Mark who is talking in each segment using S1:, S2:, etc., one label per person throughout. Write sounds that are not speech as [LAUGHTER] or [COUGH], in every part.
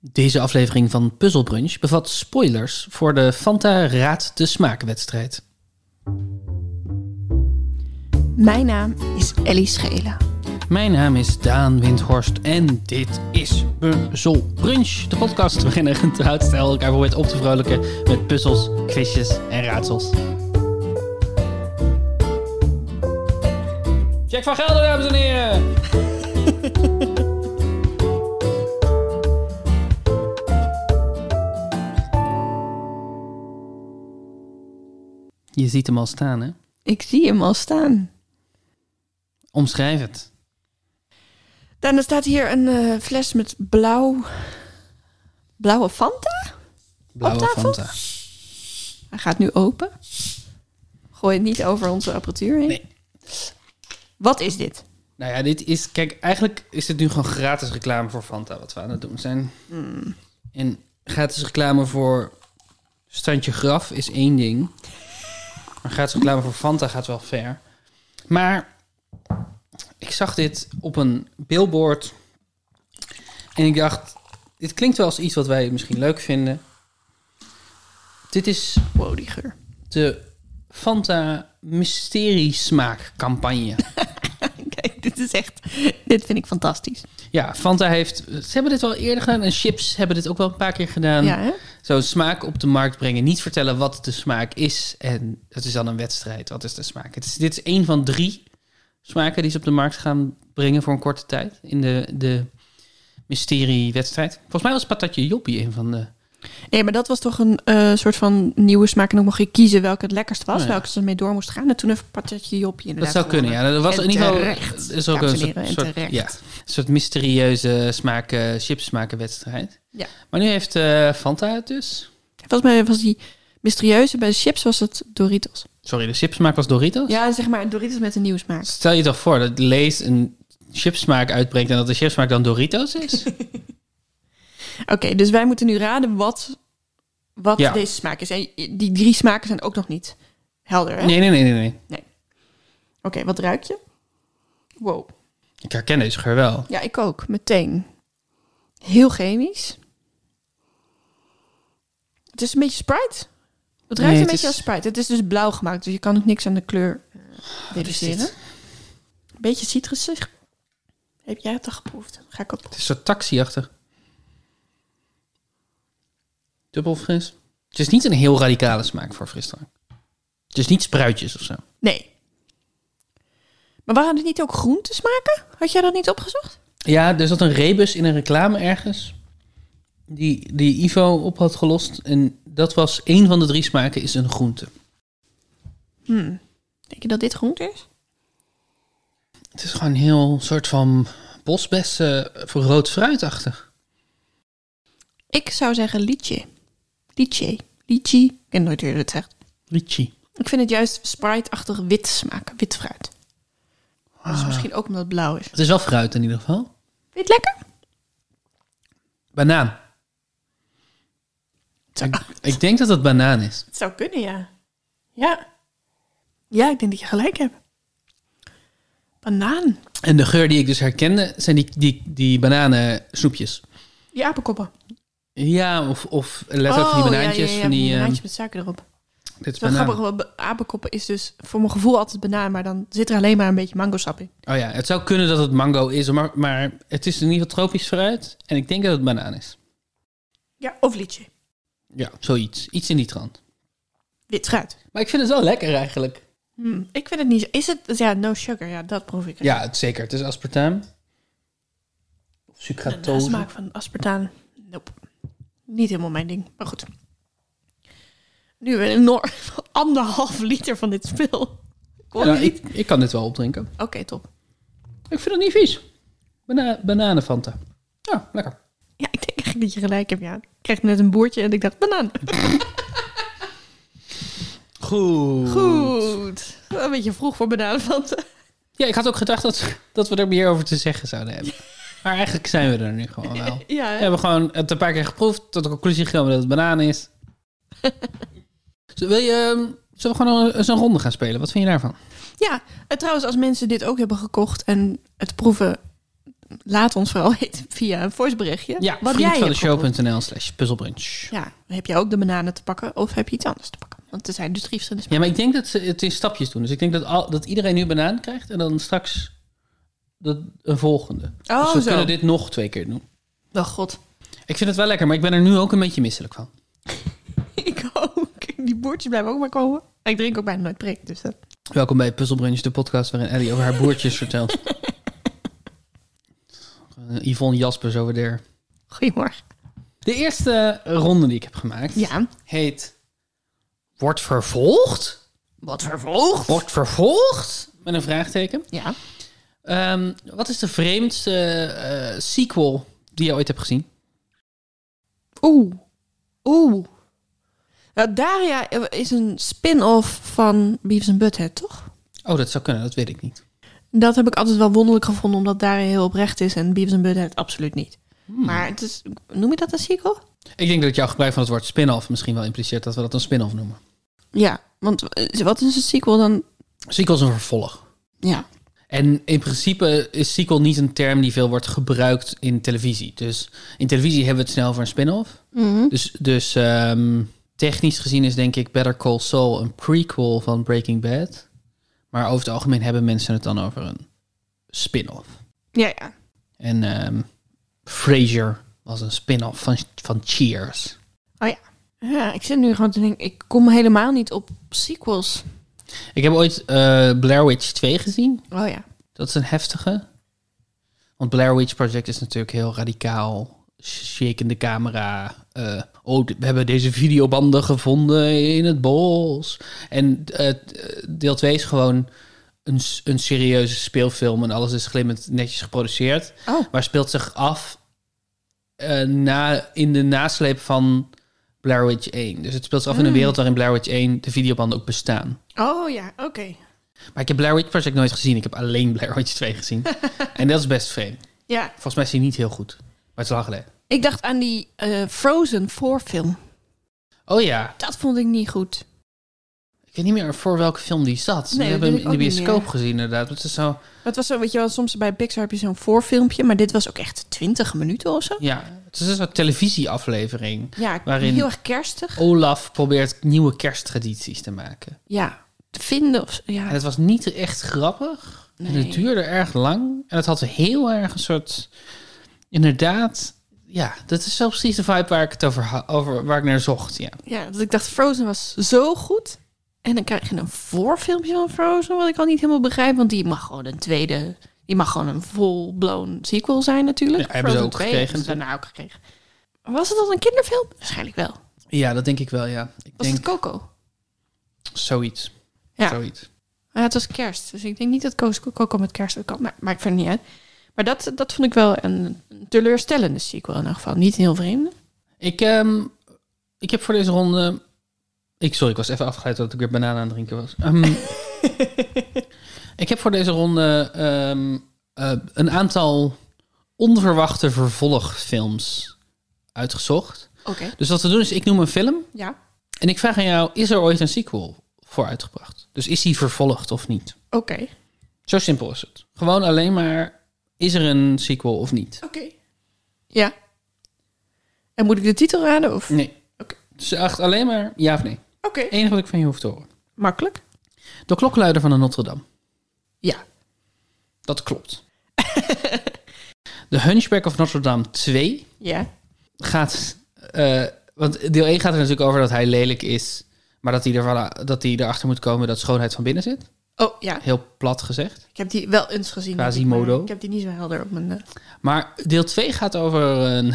S1: Deze aflevering van Puzzle Brunch bevat spoilers voor de Fanta Raad de Smaakwedstrijd.
S2: Mijn naam is Ellie Schelen.
S1: Mijn naam is Daan Windhorst en dit is Puzzle Brunch, de podcast waarin een getrouwd stijl elkaar probeert op te vrolijken met puzzels, quizjes en raadsels. Jack van Gelder, dames en heren! [LAUGHS] Je ziet hem al staan, hè?
S2: Ik zie hem al staan.
S1: Omschrijf het.
S2: Dan staat hier een eh, fles met blauw... Blauwe Fanta?
S1: Blauwe
S2: tafel?
S1: Fanta.
S2: Hij gaat nu open. Gooi het niet over onze apparatuur heen.
S1: Nee.
S2: Wat is dit?
S1: Nou ja, dit is. Kijk, eigenlijk is dit nu gewoon gratis reclame voor Fanta wat we aan het doen zijn. En gratis reclame voor Standje Graf is één ding. Maar gratis reclame voor Fanta gaat wel ver. Maar ik zag dit op een billboard. En ik dacht, dit klinkt wel als iets wat wij misschien leuk vinden. Dit is
S2: Wow, die geur.
S1: de Fanta Mysterie Smaakcampagne.
S2: [LAUGHS] Kijk, dit is echt... Dit vind ik fantastisch.
S1: Ja, Fanta heeft. Ze hebben dit wel eerder gedaan en chips hebben dit ook wel een paar keer gedaan.
S2: ja, hè?
S1: Zo'n smaak op de markt brengen, niet vertellen wat de smaak is. En het is dan een wedstrijd. Wat is de smaak? Het is, dit is één van drie smaken die ze op de markt gaan brengen voor een korte tijd. In de, de mysterie-wedstrijd. Volgens mij was patatje Joppie een van de.
S2: Nee, maar dat was toch een eh, soort van nieuwe smaak. En ook mocht je kiezen welke het lekkerst was.
S1: Nou ja.
S2: Welke ze mee door moest gaan. En toen even patatje jopje
S1: Dat
S2: inderdaad.
S1: zou kunnen, ja. Dat was
S2: En
S1: in ieder geval.
S2: terecht,
S1: is ook
S2: dames
S1: een soort,
S2: en heren, en
S1: soort-
S2: terecht.
S1: ja, een soort mysterieuze smaken, chipsmakenwedstrijd.
S2: Ja.
S1: Maar nu heeft eh, Fanta het dus.
S2: Volgens mij was die mysterieuze bij de chips was het Doritos.
S1: Sorry, de chipsmaak was Doritos.
S2: Ja, Oh, zeg maar Doritos met een nieuwe smaak.
S1: Stel je toch voor dat Lees een chipsmaak uitbrengt en dat de chipsmaak dan Doritos [LAUGHS] is?
S2: Oké, dus wij moeten nu raden wat, wat
S1: Ja.
S2: deze smaak is. En die drie smaken zijn ook nog niet helder, hè?
S1: nee, nee, nee, nee, nee.
S2: Oké, wat ruik je? Wow.
S1: Ik herken deze geur wel.
S2: Ja, ik ook. Meteen. Heel chemisch. Het is een beetje Sprite. Het ruikt
S1: Nee,
S2: een
S1: het
S2: beetje
S1: is-
S2: als Sprite. Het is dus blauw gemaakt, dus je kan ook niks aan de kleur eh,
S1: is
S2: deduceren.
S1: dit?
S2: Een beetje citrusig. Heb jij het al geproefd? Ga ik op.
S1: Het is zo taxiachtig. Dubbel fris. Het is niet een heel radicale smaak voor frisdrank. Het is niet spruitjes of zo.
S2: Nee. Maar waren er niet ook groentesmaken? Had jij dat niet opgezocht?
S1: Ja, er zat een rebus in een reclame ergens. Die, die Ivo op had gelost. En dat was één van de drie smaken is een groente.
S2: Hmm. Denk je dat dit groente is?
S1: Het is gewoon heel soort van bosbessen eh, voor rood fruitachtig.
S2: Ik zou zeggen liedje. Liedje. Liedje. Ik ken nooit hoe je dat zegt.
S1: Litchi.
S2: Ik vind het juist Sprite-achtig wit smaken. Wit fruit. Dat
S1: Ah.
S2: is misschien ook omdat het blauw is.
S1: Het is wel fruit in ieder geval.
S2: Vind je het lekker?
S1: Banaan.
S2: Het zou,
S1: Ik, ik denk dat [LAUGHS] het banaan is.
S2: het zou kunnen, ja. Ja. Ja, ik denk dat je gelijk hebt. Banaan.
S1: En de geur die ik dus herkende zijn die, die, die bananensnoepjes.
S2: Die apenkoppen.
S1: Ja, of, of let
S2: Oh,
S1: op van die banaantjes. van die, ehm,
S2: banaantjes met suiker erop.
S1: dit is
S2: Het is wel
S1: banaan.
S2: grappig, want be- apenkoppen is dus voor mijn gevoel altijd banaan, maar dan zit er alleen maar een beetje mangosap in.
S1: Oh ja, het zou kunnen dat het mango is, maar, maar het is in ieder geval tropisch fruit. En ik denk dat het banaan is.
S2: Ja, of liedje.
S1: Ja, zoiets. Iets in die trant.
S2: Wit fruit.
S1: Maar ik vind het wel lekker eigenlijk.
S2: Hmm, ik vind het niet. Is het. Ja, no sugar. Ja, dat proef ik.
S1: Ja, het, zeker. Het is aspartaam. Of
S2: de
S1: sucratose.
S2: smaak van aspartaan. Nope. Niet helemaal mijn ding. Maar goed. Nu een enorm [LAUGHS] anderhalf liter van dit spul. Ik hoor
S1: Nou,
S2: niet.
S1: ik, ik kan dit wel opdrinken.
S2: Oké, top.
S1: Ik vind het niet vies. Bana bananenfanta. Ja, lekker.
S2: Ja, ik denk eigenlijk dat je gelijk hebt. Ja, ik kreeg net een boertje en ik dacht banaan.
S1: Goed.
S2: Goed. Wel Een beetje vroeg voor eh, bananenfanten.
S1: Ja, ik had ook gedacht dat, dat we er meer over te zeggen zouden hebben. Maar eigenlijk zijn we er nu gewoon wel.
S2: Ja,
S1: We
S2: hè?
S1: hebben gewoon het een paar keer geproefd, tot de conclusie gekomen dat het banaan is. Zo, Wil je, ehm, zullen we gewoon eens een ronde gaan spelen? Wat vind je daarvan?
S2: eh, Ja, en trouwens, als mensen dit ook hebben gekocht en het proeven Laat ons vooral [LAUGHS] weten via een voiceberichtje.
S1: Ja,
S2: wat jij
S1: vriend van de
S2: hebt gevonden.
S1: show.nl slash puzzelbrunch.
S2: Ja, heb jij ook de bananen te pakken of heb je iets anders te pakken? Want er zijn dus drie verschillende
S1: Ja, maar ik denk dat ze het in stapjes doen. Dus ik denk dat, al, dat iedereen nu een banaan krijgt en dan straks dat, een volgende.
S2: smaken.
S1: dus
S2: Oh,
S1: we
S2: zo.
S1: kunnen dit nog twee keer doen.
S2: Oh god.
S1: Ik vind het wel lekker, maar ik ben er nu ook een beetje misselijk van.
S2: [LAUGHS] Ik ook. Die boertjes blijven ook maar komen. Maar ik drink ook bijna nooit prik, dus dat...
S1: Welkom bij Puzzelbrunch, de podcast waarin Ellie over haar [LAUGHS] boertjes vertelt. Eh, Yvonne Jaspers over der.
S2: Goedemorgen.
S1: De eerste ronde die ik heb gemaakt
S2: Ja.
S1: heet... Wordt vervolgd?
S2: Wat vervolgd?
S1: Wordt vervolgd? Met een vraagteken.
S2: Ja.
S1: Ehm, wat is de vreemdste eh, sequel die je ooit hebt gezien?
S2: Oeh. Oeh. Nou, Daria is een spin-off van Beavis and Butthead, toch?
S1: Oh, dat zou kunnen, dat weet ik niet.
S2: Dat heb ik altijd wel wonderlijk gevonden, omdat Daria heel oprecht is en Beavis and Butthead absoluut niet. Maar het is... Noem je dat een sequel?
S1: Ik denk dat jouw gebruik van het woord spin-off misschien wel impliceert dat we dat een spin-off noemen.
S2: Ja, want eh, wat is een sequel dan?
S1: Sequel is een vervolg.
S2: Ja.
S1: En in principe is sequel niet een term die veel wordt gebruikt in televisie. Dus in televisie hebben we het snel over een spin-off. Dus, dus ehm, technisch gezien is denk ik Better Call Saul een prequel van Breaking Bad. Maar over het algemeen hebben mensen het dan over een spin-off.
S2: Ja, ja.
S1: En ehm Frasier was een spin-off van, van Cheers.
S2: Ja, ik zit nu gewoon te denken, ik kom helemaal niet op sequels.
S1: Ik heb ooit eh, Blair Witch 2 gezien.
S2: Oh ja.
S1: Dat is een heftige. Want Blair Witch Project is natuurlijk heel radicaal. Shakende camera. eh, oh, d- we hebben deze videobanden gevonden in het bos. En eh, t- deel 2 is gewoon een, s- een serieuze speelfilm. En alles is glimmend netjes geproduceerd.
S2: Oh.
S1: Maar speelt zich af eh, na, in de nasleep van Blair Witch 1. Dus het speelt zich af in een wereld waarin Blair Witch 1 de videobanden ook bestaan.
S2: Oh ja, oké.
S1: Maar ik heb Blair Witch Project nooit gezien. Ik heb alleen [LAUGHS] Blair Witch 2 gezien. en dat is best vreemd.
S2: Ja,
S1: Volgens mij is die niet heel goed. Maar het is lang geleden.
S2: ik dacht aan die eh, Frozen voorfilm.
S1: Oh ja.
S2: Dat vond ik niet goed.
S1: Ik weet niet meer voor welke film die zat.
S2: Nee,
S1: We hebben hem
S2: dat weet
S1: in
S2: ik
S1: de
S2: ook niet
S1: bioscoop
S2: meer.
S1: gezien inderdaad. Het is zo...
S2: Het was zo, weet je wel, soms bij Pixar heb je zo'n voorfilmpje, maar dit was ook echt 20 minuten of zo.
S1: Ja, het is een soort televisieaflevering.
S2: Ja,
S1: Waarin-
S2: heel erg kerstig.
S1: Olaf probeert nieuwe kersttradities te maken.
S2: Ja, te vinden of
S1: En
S2: ja.
S1: het was niet echt grappig. En
S2: Nee.
S1: het duurde erg lang. En het had heel erg een soort... Inderdaad... Ja, dat is wel precies de vibe waar ik het over, ha- over waar ik naar zocht. Ja.
S2: ja, dat ik dacht Frozen was zo goed. En dan krijg je een voorfilmpje van Frozen, wat ik al niet helemaal begrijp, want die mag gewoon een tweede, die mag gewoon een full-blown sequel zijn natuurlijk.
S1: Ja, hebben ze
S2: Frozen
S1: ook
S2: 2
S1: gekregen
S2: hebben ze daarna ook gekregen. Was het dan een kinderfilm? Waarschijnlijk wel.
S1: ja, dat denk ik wel, ja. Ik
S2: Was
S1: denk
S2: het Coco?
S1: zoiets.
S2: Ja.
S1: Zoiets.
S2: Ja, het was kerst. Dus ik denk niet dat Koos- Coco met kerst dat kan. Maar, maar ik vind het niet uit. Maar dat, dat vond ik wel een teleurstellende sequel in elk geval. Niet een heel vreemde.
S1: Ik, ehm, ik heb voor deze ronde. Ik, sorry, ik was even afgeleid dat ik weer bananen aan het drinken was.
S2: [LAUGHS]
S1: Ehm, ik heb voor deze ronde ehm, eh, een aantal onverwachte vervolgfilms uitgezocht.
S2: Oké.
S1: Dus wat we doen is, ik noem een film
S2: Ja.
S1: en ik vraag aan jou, is er ooit een sequel voor uitgebracht? Dus is die vervolgd of niet?
S2: Oké.
S1: Zo simpel is het. Gewoon alleen maar, is er een sequel of niet?
S2: Oké. Ja. En moet ik de titel raden? Of? Oké.
S1: Nee.
S2: Oké.
S1: Dus echt alleen maar ja of nee. Het enige wat ik van je hoef te horen.
S2: Makkelijk?
S1: De klokluider van de Notre Dame.
S2: Ja.
S1: Dat klopt. de Hunchback of Notre Dame 2
S2: Ja.
S1: gaat... eh, want deel 1 gaat er natuurlijk over dat hij lelijk is... maar dat hij, ervan, dat hij erachter moet komen dat schoonheid van binnen zit.
S2: Oh, ja.
S1: Heel plat gezegd.
S2: Ik heb die wel eens gezien.
S1: Quasimodo.
S2: maar Ik heb die niet zo helder op mijn... eh,
S1: Maar deel 2 gaat over een... [LAUGHS]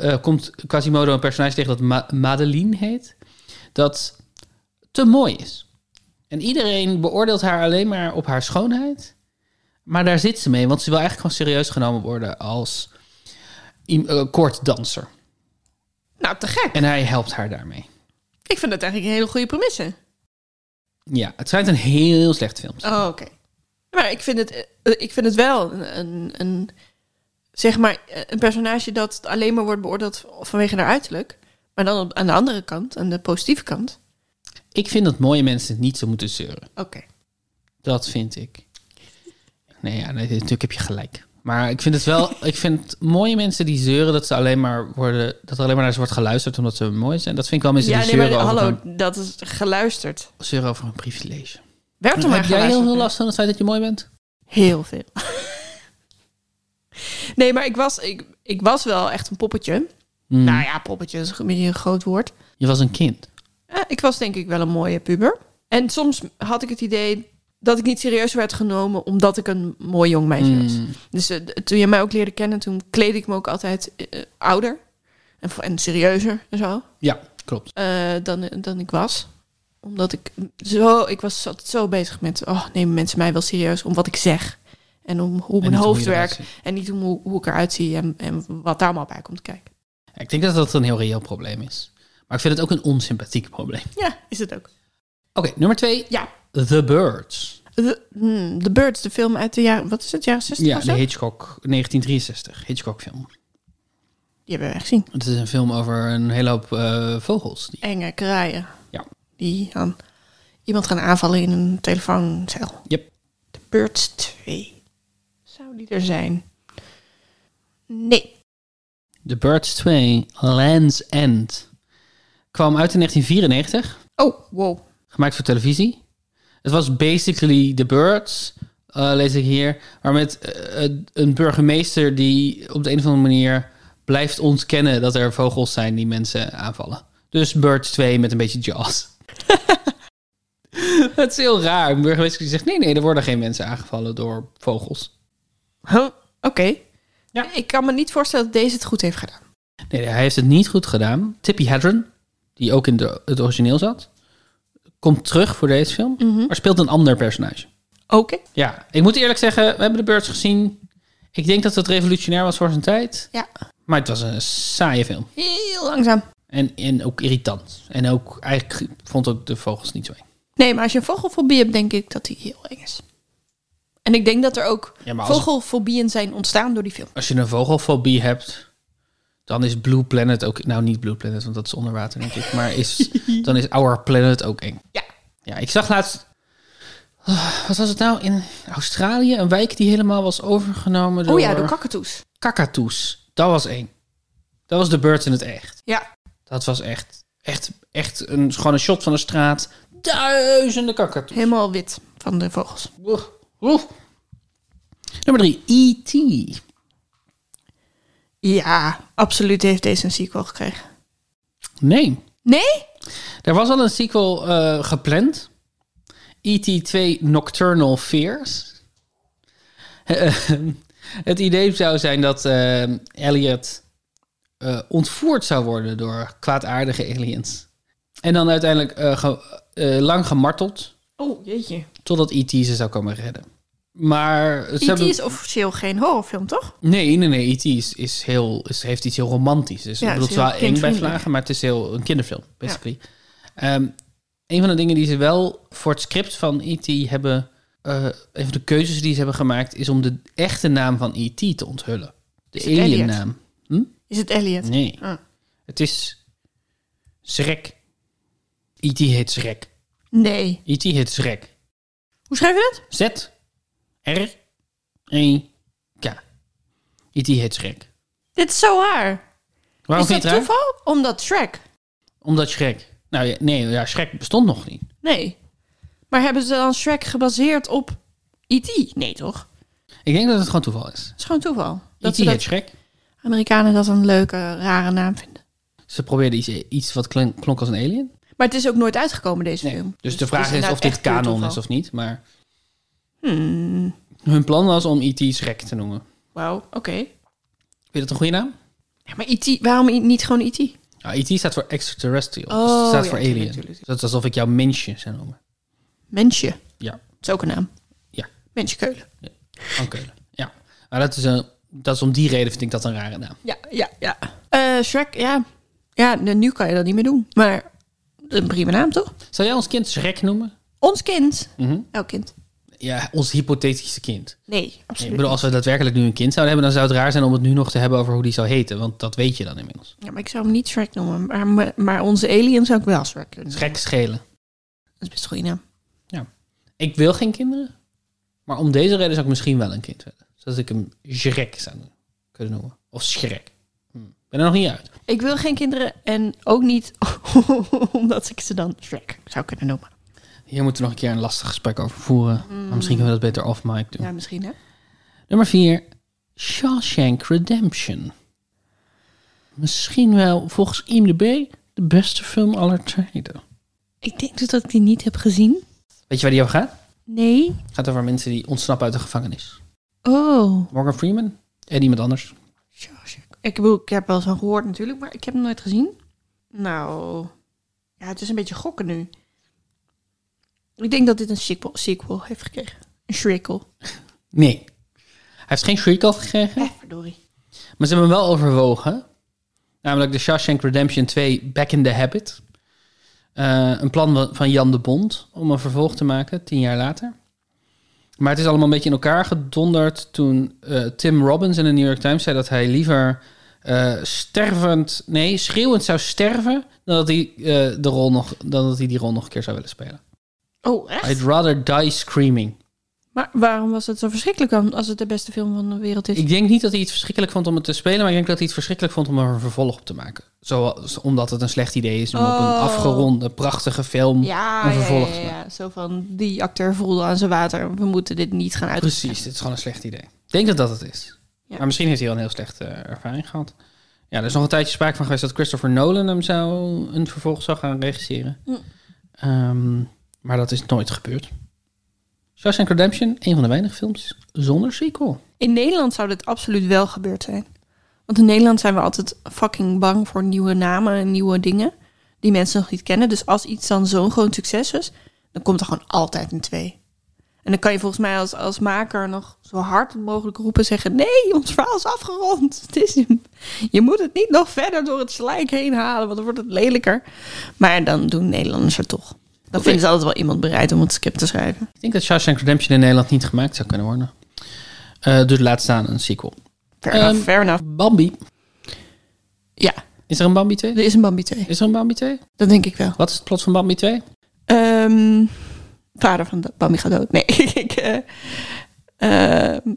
S1: eh, komt Quasimodo een personage tegen dat Ma- Madeleine heet... dat te mooi is. En iedereen beoordeelt haar alleen maar op haar schoonheid... Maar daar zit ze mee, want ze wil eigenlijk gewoon serieus genomen worden als i- eh, koorddanser.
S2: Nou, te gek.
S1: En hij helpt haar daarmee.
S2: Ik vind dat eigenlijk een hele goede premisse.
S1: Ja, het schijnt een heel slecht film. te zijn.
S2: Oh, oké. Maar ik vind het, eh, ik vind het wel een, een, een, zeg maar, eh, een personage dat alleen maar wordt beoordeeld vanwege haar uiterlijk. Maar dan op- aan de andere kant, aan de positieve kant.
S1: Ik vind dat mooie mensen niet zo moeten zeuren.
S2: Oké.
S1: Dat vind ik. Nee, ja, nee, natuurlijk heb je gelijk. Maar ik vind het wel,
S2: [LAUGHS]
S1: ik vind mooie mensen die zeuren dat ze alleen maar worden, dat er alleen maar naar ze wordt geluisterd omdat ze mooi zijn. Dat vind ik wel mensen
S2: Ja,
S1: die
S2: nee,
S1: zeuren,
S2: maar
S1: over
S2: hallo,
S1: hun,
S2: dat is geluisterd.
S1: zeuren over hun privilege.
S2: Werkt er maar
S1: Heb jij heel
S2: geluisterd
S1: veel
S2: naar.
S1: last van het feit dat je mooi bent?
S2: Heel veel. [LAUGHS] nee, maar ik was, ik, ik was wel echt een poppetje.
S1: Hmm.
S2: Nou ja, poppetje is een beetje een groot woord.
S1: Je was een kind.
S2: Eh, ik was denk ik wel een mooie puber. En soms had ik het idee dat ik niet serieus werd genomen omdat ik een mooi jong meisje was.
S1: Hmm.
S2: Dus eh, d- toen je mij ook leerde kennen, toen kleed ik me ook altijd eh, eh, ouder en, v- en serieuzer en zo
S1: Ja, klopt.
S2: eh, dan, dan ik was. Omdat ik zo, ik was altijd zo bezig met, oh, nemen mensen mij wel serieus om wat ik zeg en om hoe
S1: En
S2: mijn
S1: niet hoe
S2: hoofd
S1: je eruit
S2: werkt
S1: ziet.
S2: en niet om hoe, hoe ik eruit zie en, en wat daar allemaal bij komt kijken.
S1: Ik denk dat dat een heel reëel probleem is. Maar ik vind het ook een onsympathiek probleem.
S2: Ja, is het ook.
S1: Oké, nummer twee.
S2: Ja.
S1: The Birds.
S2: The, mm, The Birds, de film uit de jaren, wat is het, jaren 60
S1: Ja,
S2: of
S1: de
S2: zo? Die
S1: Hitchcock 1963. Hitchcock film.
S2: hebben we echt gezien.
S1: Het is een film over een hele hoop eh, vogels. Die...
S2: Enge kraaien.
S1: Ja.
S2: Die aan iemand gaan aanvallen in een telefooncel.
S1: Yep.
S2: The Birds 2. Zou die er zijn? Nee.
S1: The Birds 2, Land's End. Kwam uit in 1994.
S2: Oh, wow.
S1: Gemaakt voor televisie. Het was basically The Birds, eh, lees ik hier. Maar met eh, eh, een burgemeester die op de een of andere manier blijft ontkennen dat er vogels zijn die mensen aanvallen. Dus Birds 2 met een beetje jazz. Het is heel raar. Een burgemeester die zegt: nee, nee, er worden geen mensen aangevallen door vogels.
S2: Huh? Oké.
S1: Ja.
S2: Ik kan me niet voorstellen dat deze het goed heeft gedaan.
S1: Nee, hij heeft het niet goed gedaan. Tippy Hedren, die ook in de, het origineel zat, komt terug voor deze film, maar speelt een ander personage.
S2: Oké.
S1: Ja, ik moet eerlijk zeggen, we hebben de Birds gezien. Ik denk dat het revolutionair was voor zijn tijd.
S2: Ja.
S1: Maar het was een saaie film.
S2: Heel langzaam.
S1: En, en ook irritant. En ook, eigenlijk vond ik de vogels niet zo eng.
S2: Nee, maar als je een vogelfobie hebt, denk ik dat die heel eng is. En ik denk dat er ook
S1: Ja, maar als-
S2: vogelfobieën zijn ontstaan door die film.
S1: Als je een vogelfobie hebt, dan is Blue Planet ook... Nou, niet Blue Planet, want dat is onder water, denk ik. Maar is, dan is Our Planet ook eng.
S2: Ja.
S1: Ja, ik zag laatst... Ah, Wat was het nou? In Australië, een wijk die helemaal was overgenomen door...
S2: Oh ja, door kakatoes.
S1: kakatoes. Dat was eng. Dat was de Birds in het echt.
S2: Ja.
S1: Dat was echt, echt, echt een, gewoon een shot van de straat. Duizenden kakatoes.
S2: Helemaal wit van de vogels.
S1: Oeh, oeh. Nummer drie, E E.T.
S2: Ja, absoluut heeft deze een sequel gekregen.
S1: Nee,
S2: Nee?
S1: er was al een sequel eh, gepland. E.T. 2 Nocturnal Fears. Eh, [LAUGHS] Het idee zou zijn dat eh, Elliot eh, ontvoerd zou worden door kwaadaardige aliens. En dan uiteindelijk eh, ge- eh, lang gemarteld
S2: Oh, jeetje.
S1: totdat E.T. ze zou komen redden. Maar ze
S2: E.T.
S1: hebben...
S2: is officieel geen horrorfilm, toch?
S1: Nee, nee, nee. E.T. Is, is heel, is, heeft iets heel romantisch. Dus
S2: Ja,
S1: ik bedoel,
S2: het
S1: het is wel
S2: is heel
S1: eng bij
S2: kindvriendelijk.
S1: slagen, maar het is heel een kinderfilm, basically. Ehm, een van de dingen die ze wel voor het script van E.T. hebben... eh, een van de keuzes die ze hebben gemaakt... is om de echte naam van E.T. te onthullen. De
S2: Is het Elliot?
S1: alien-naam.
S2: Is het Elliot?
S1: Nee.
S2: Ah.
S1: Het is... Shrek. E.T. heet Shrek.
S2: Nee.
S1: E.T. heet Shrek.
S2: Hoe schrijf je dat?
S1: Z R E K. E.T. heet Shrek.
S2: Dit is zo haar.
S1: Waarom
S2: is
S1: vind
S2: dat
S1: je het raar?
S2: toeval? Omdat Shrek.
S1: Omdat Shrek. Nou ja, nee, ja, Shrek bestond nog niet.
S2: Nee. Maar hebben ze dan Shrek gebaseerd op E.T.? Nee, toch?
S1: Ik denk dat het gewoon toeval is.
S2: Het is gewoon toeval. Dat
S1: E.T.
S2: ze
S1: heet
S2: dat
S1: Shrek.
S2: Amerikanen dat een leuke, rare naam vinden.
S1: Ze probeerden iets, iets wat klink- klonk als een alien.
S2: Maar het is ook nooit uitgekomen, deze
S1: Nee.
S2: film.
S1: Dus de vraag is
S2: inderdaad
S1: of dit
S2: echt puur
S1: kanon
S2: toeval. Hmm.
S1: is of niet. Maar hun plan was om E.T. Shrek te noemen.
S2: Wauw, oké.
S1: Vind je dat een goede naam?
S2: Ja, maar E.T., waarom i- niet gewoon E E.T.?
S1: Nou, E.T. staat voor extraterrestrial.
S2: Oh,
S1: dus het staat
S2: ja,
S1: voor
S2: tuurlijk,
S1: alien.
S2: tuurlijk.
S1: Dat is alsof ik jou mensje zou noemen.
S2: Mensje.
S1: Ja.
S2: Dat is ook een naam.
S1: Ja.
S2: Mensje Keulen.
S1: Van Keulen. Ja. Maar dat is, een, dat is om die reden vind ik dat een rare naam.
S2: Ja, ja, ja. Eh, Shrek, ja. Ja, nu nu kan je dat niet meer doen. Maar een prima naam, toch?
S1: Zou jij ons kind Shrek noemen?
S2: Ons kind. Elk kind.
S1: Ja, ons hypothetische kind.
S2: Nee,
S1: Nee,
S2: absoluut.
S1: ik bedoel, als we daadwerkelijk nu een kind zouden hebben, dan zou het raar zijn om het nu nog te hebben over hoe die zou heten. Want dat weet je dan inmiddels.
S2: Ja, maar ik zou hem niet Shrek noemen. Maar, maar- maar onze alien zou ik wel Shrek kunnen noemen.
S1: Gek schelen.
S2: Dat is best een goede naam.
S1: Ik wil geen kinderen. Maar om deze reden zou ik misschien wel een kind willen. Zodat ik hem Shrek zou kunnen noemen. Of Shrek. Hm. Ben er nog niet uit.
S2: Ik wil geen kinderen en ook niet [LAUGHS] omdat ik ze dan Shrek zou kunnen noemen.
S1: Hier moeten we nog een keer een lastig gesprek over voeren. Maar misschien kunnen we dat beter off-mic doen.
S2: Hm. Ja, misschien hè?
S1: Nummer 4. Shawshank Redemption. Misschien wel volgens IMDb de beste film aller tijden.
S2: Ik denk dus dat ik die niet heb gezien.
S1: Weet je waar die over gaat?
S2: Nee.
S1: Het gaat over mensen die ontsnappen uit de gevangenis.
S2: Oh.
S1: Morgan Freeman en iemand anders.
S2: Shawshank. Ik, bedoel, ik heb wel eens van gehoord natuurlijk, maar ik heb hem nooit gezien. Nou, ja, het is een beetje gokken nu. Ik denk dat dit een sequel, sequel heeft gekregen. Een shrikkel.
S1: Nee. Hij heeft geen shriek gekregen,
S2: Eh, verdorie.
S1: maar ze hebben hem wel overwogen. Namelijk de Shawshank Redemption 2 Back in the Habit. Eh, een plan wa- van Jan de Bond om een vervolg te maken, tien jaar later. Maar het is allemaal een beetje in elkaar gedonderd toen eh, Tim Robbins in de New York Times zei dat hij liever eh, stervend, nee, schreeuwend zou sterven dan dat hij, eh, de rol nog, dan dat hij die rol nog een keer zou willen spelen.
S2: Oh, echt?
S1: I'd rather die screaming.
S2: Maar waarom was het zo verschrikkelijk dan als het de beste film van de wereld is?
S1: Ik denk niet dat hij het verschrikkelijk vond om het te spelen, maar ik denk dat hij het verschrikkelijk vond om er een vervolg op te maken. Zoals omdat het een slecht idee is om op een
S2: Oh.
S1: afgeronde, prachtige film.
S2: ja,
S1: een
S2: ja,
S1: vervolg
S2: ja,
S1: te
S2: ja, Zo van, die acteur voelde aan zijn water. We moeten dit niet gaan uit.
S1: Precies, het is gewoon een slecht idee. Ik denk dat dat het is.
S2: Ja.
S1: Maar misschien heeft hij al een heel slechte eh, ervaring gehad. Ja, er is nog een tijdje sprake van geweest dat Christopher Nolan hem zou een vervolg zou gaan regisseren.
S2: Mm.
S1: Ehm, maar dat is nooit gebeurd. Shawshank Redemption, een van de weinige films zonder sequel.
S2: In Nederland zou dit absoluut wel gebeurd zijn. Want in Nederland zijn we altijd fucking bang voor nieuwe namen en nieuwe dingen die mensen nog niet kennen. Dus als iets dan zo'n groot succes is, dan komt er gewoon altijd een twee. En dan kan je volgens mij als, als maker nog zo hard mogelijk roepen zeggen: nee, ons verhaal is afgerond. [LAUGHS] Het is, hem. je moet het niet nog verder door het slijk heen halen, want dan wordt het lelijker. Maar dan doen Nederlanders het toch. Dan vinden ze altijd wel iemand bereid om het script te schrijven.
S1: Ik denk dat Shawshank Redemption in Nederland niet gemaakt zou kunnen worden. Eh, dus laat staan een sequel.
S2: Fair
S1: Ehm,
S2: enough, fair enough.
S1: Bambi.
S2: Ja,
S1: Is er een Bambi 2?
S2: er is een Bambi 2.
S1: Is er een Bambi 2?
S2: Dat denk ik wel.
S1: Wat is het plot van Bambi 2?
S2: Ehm, vader van de Bambi gaat dood. Nee, [LAUGHS] ik... eh, ehm,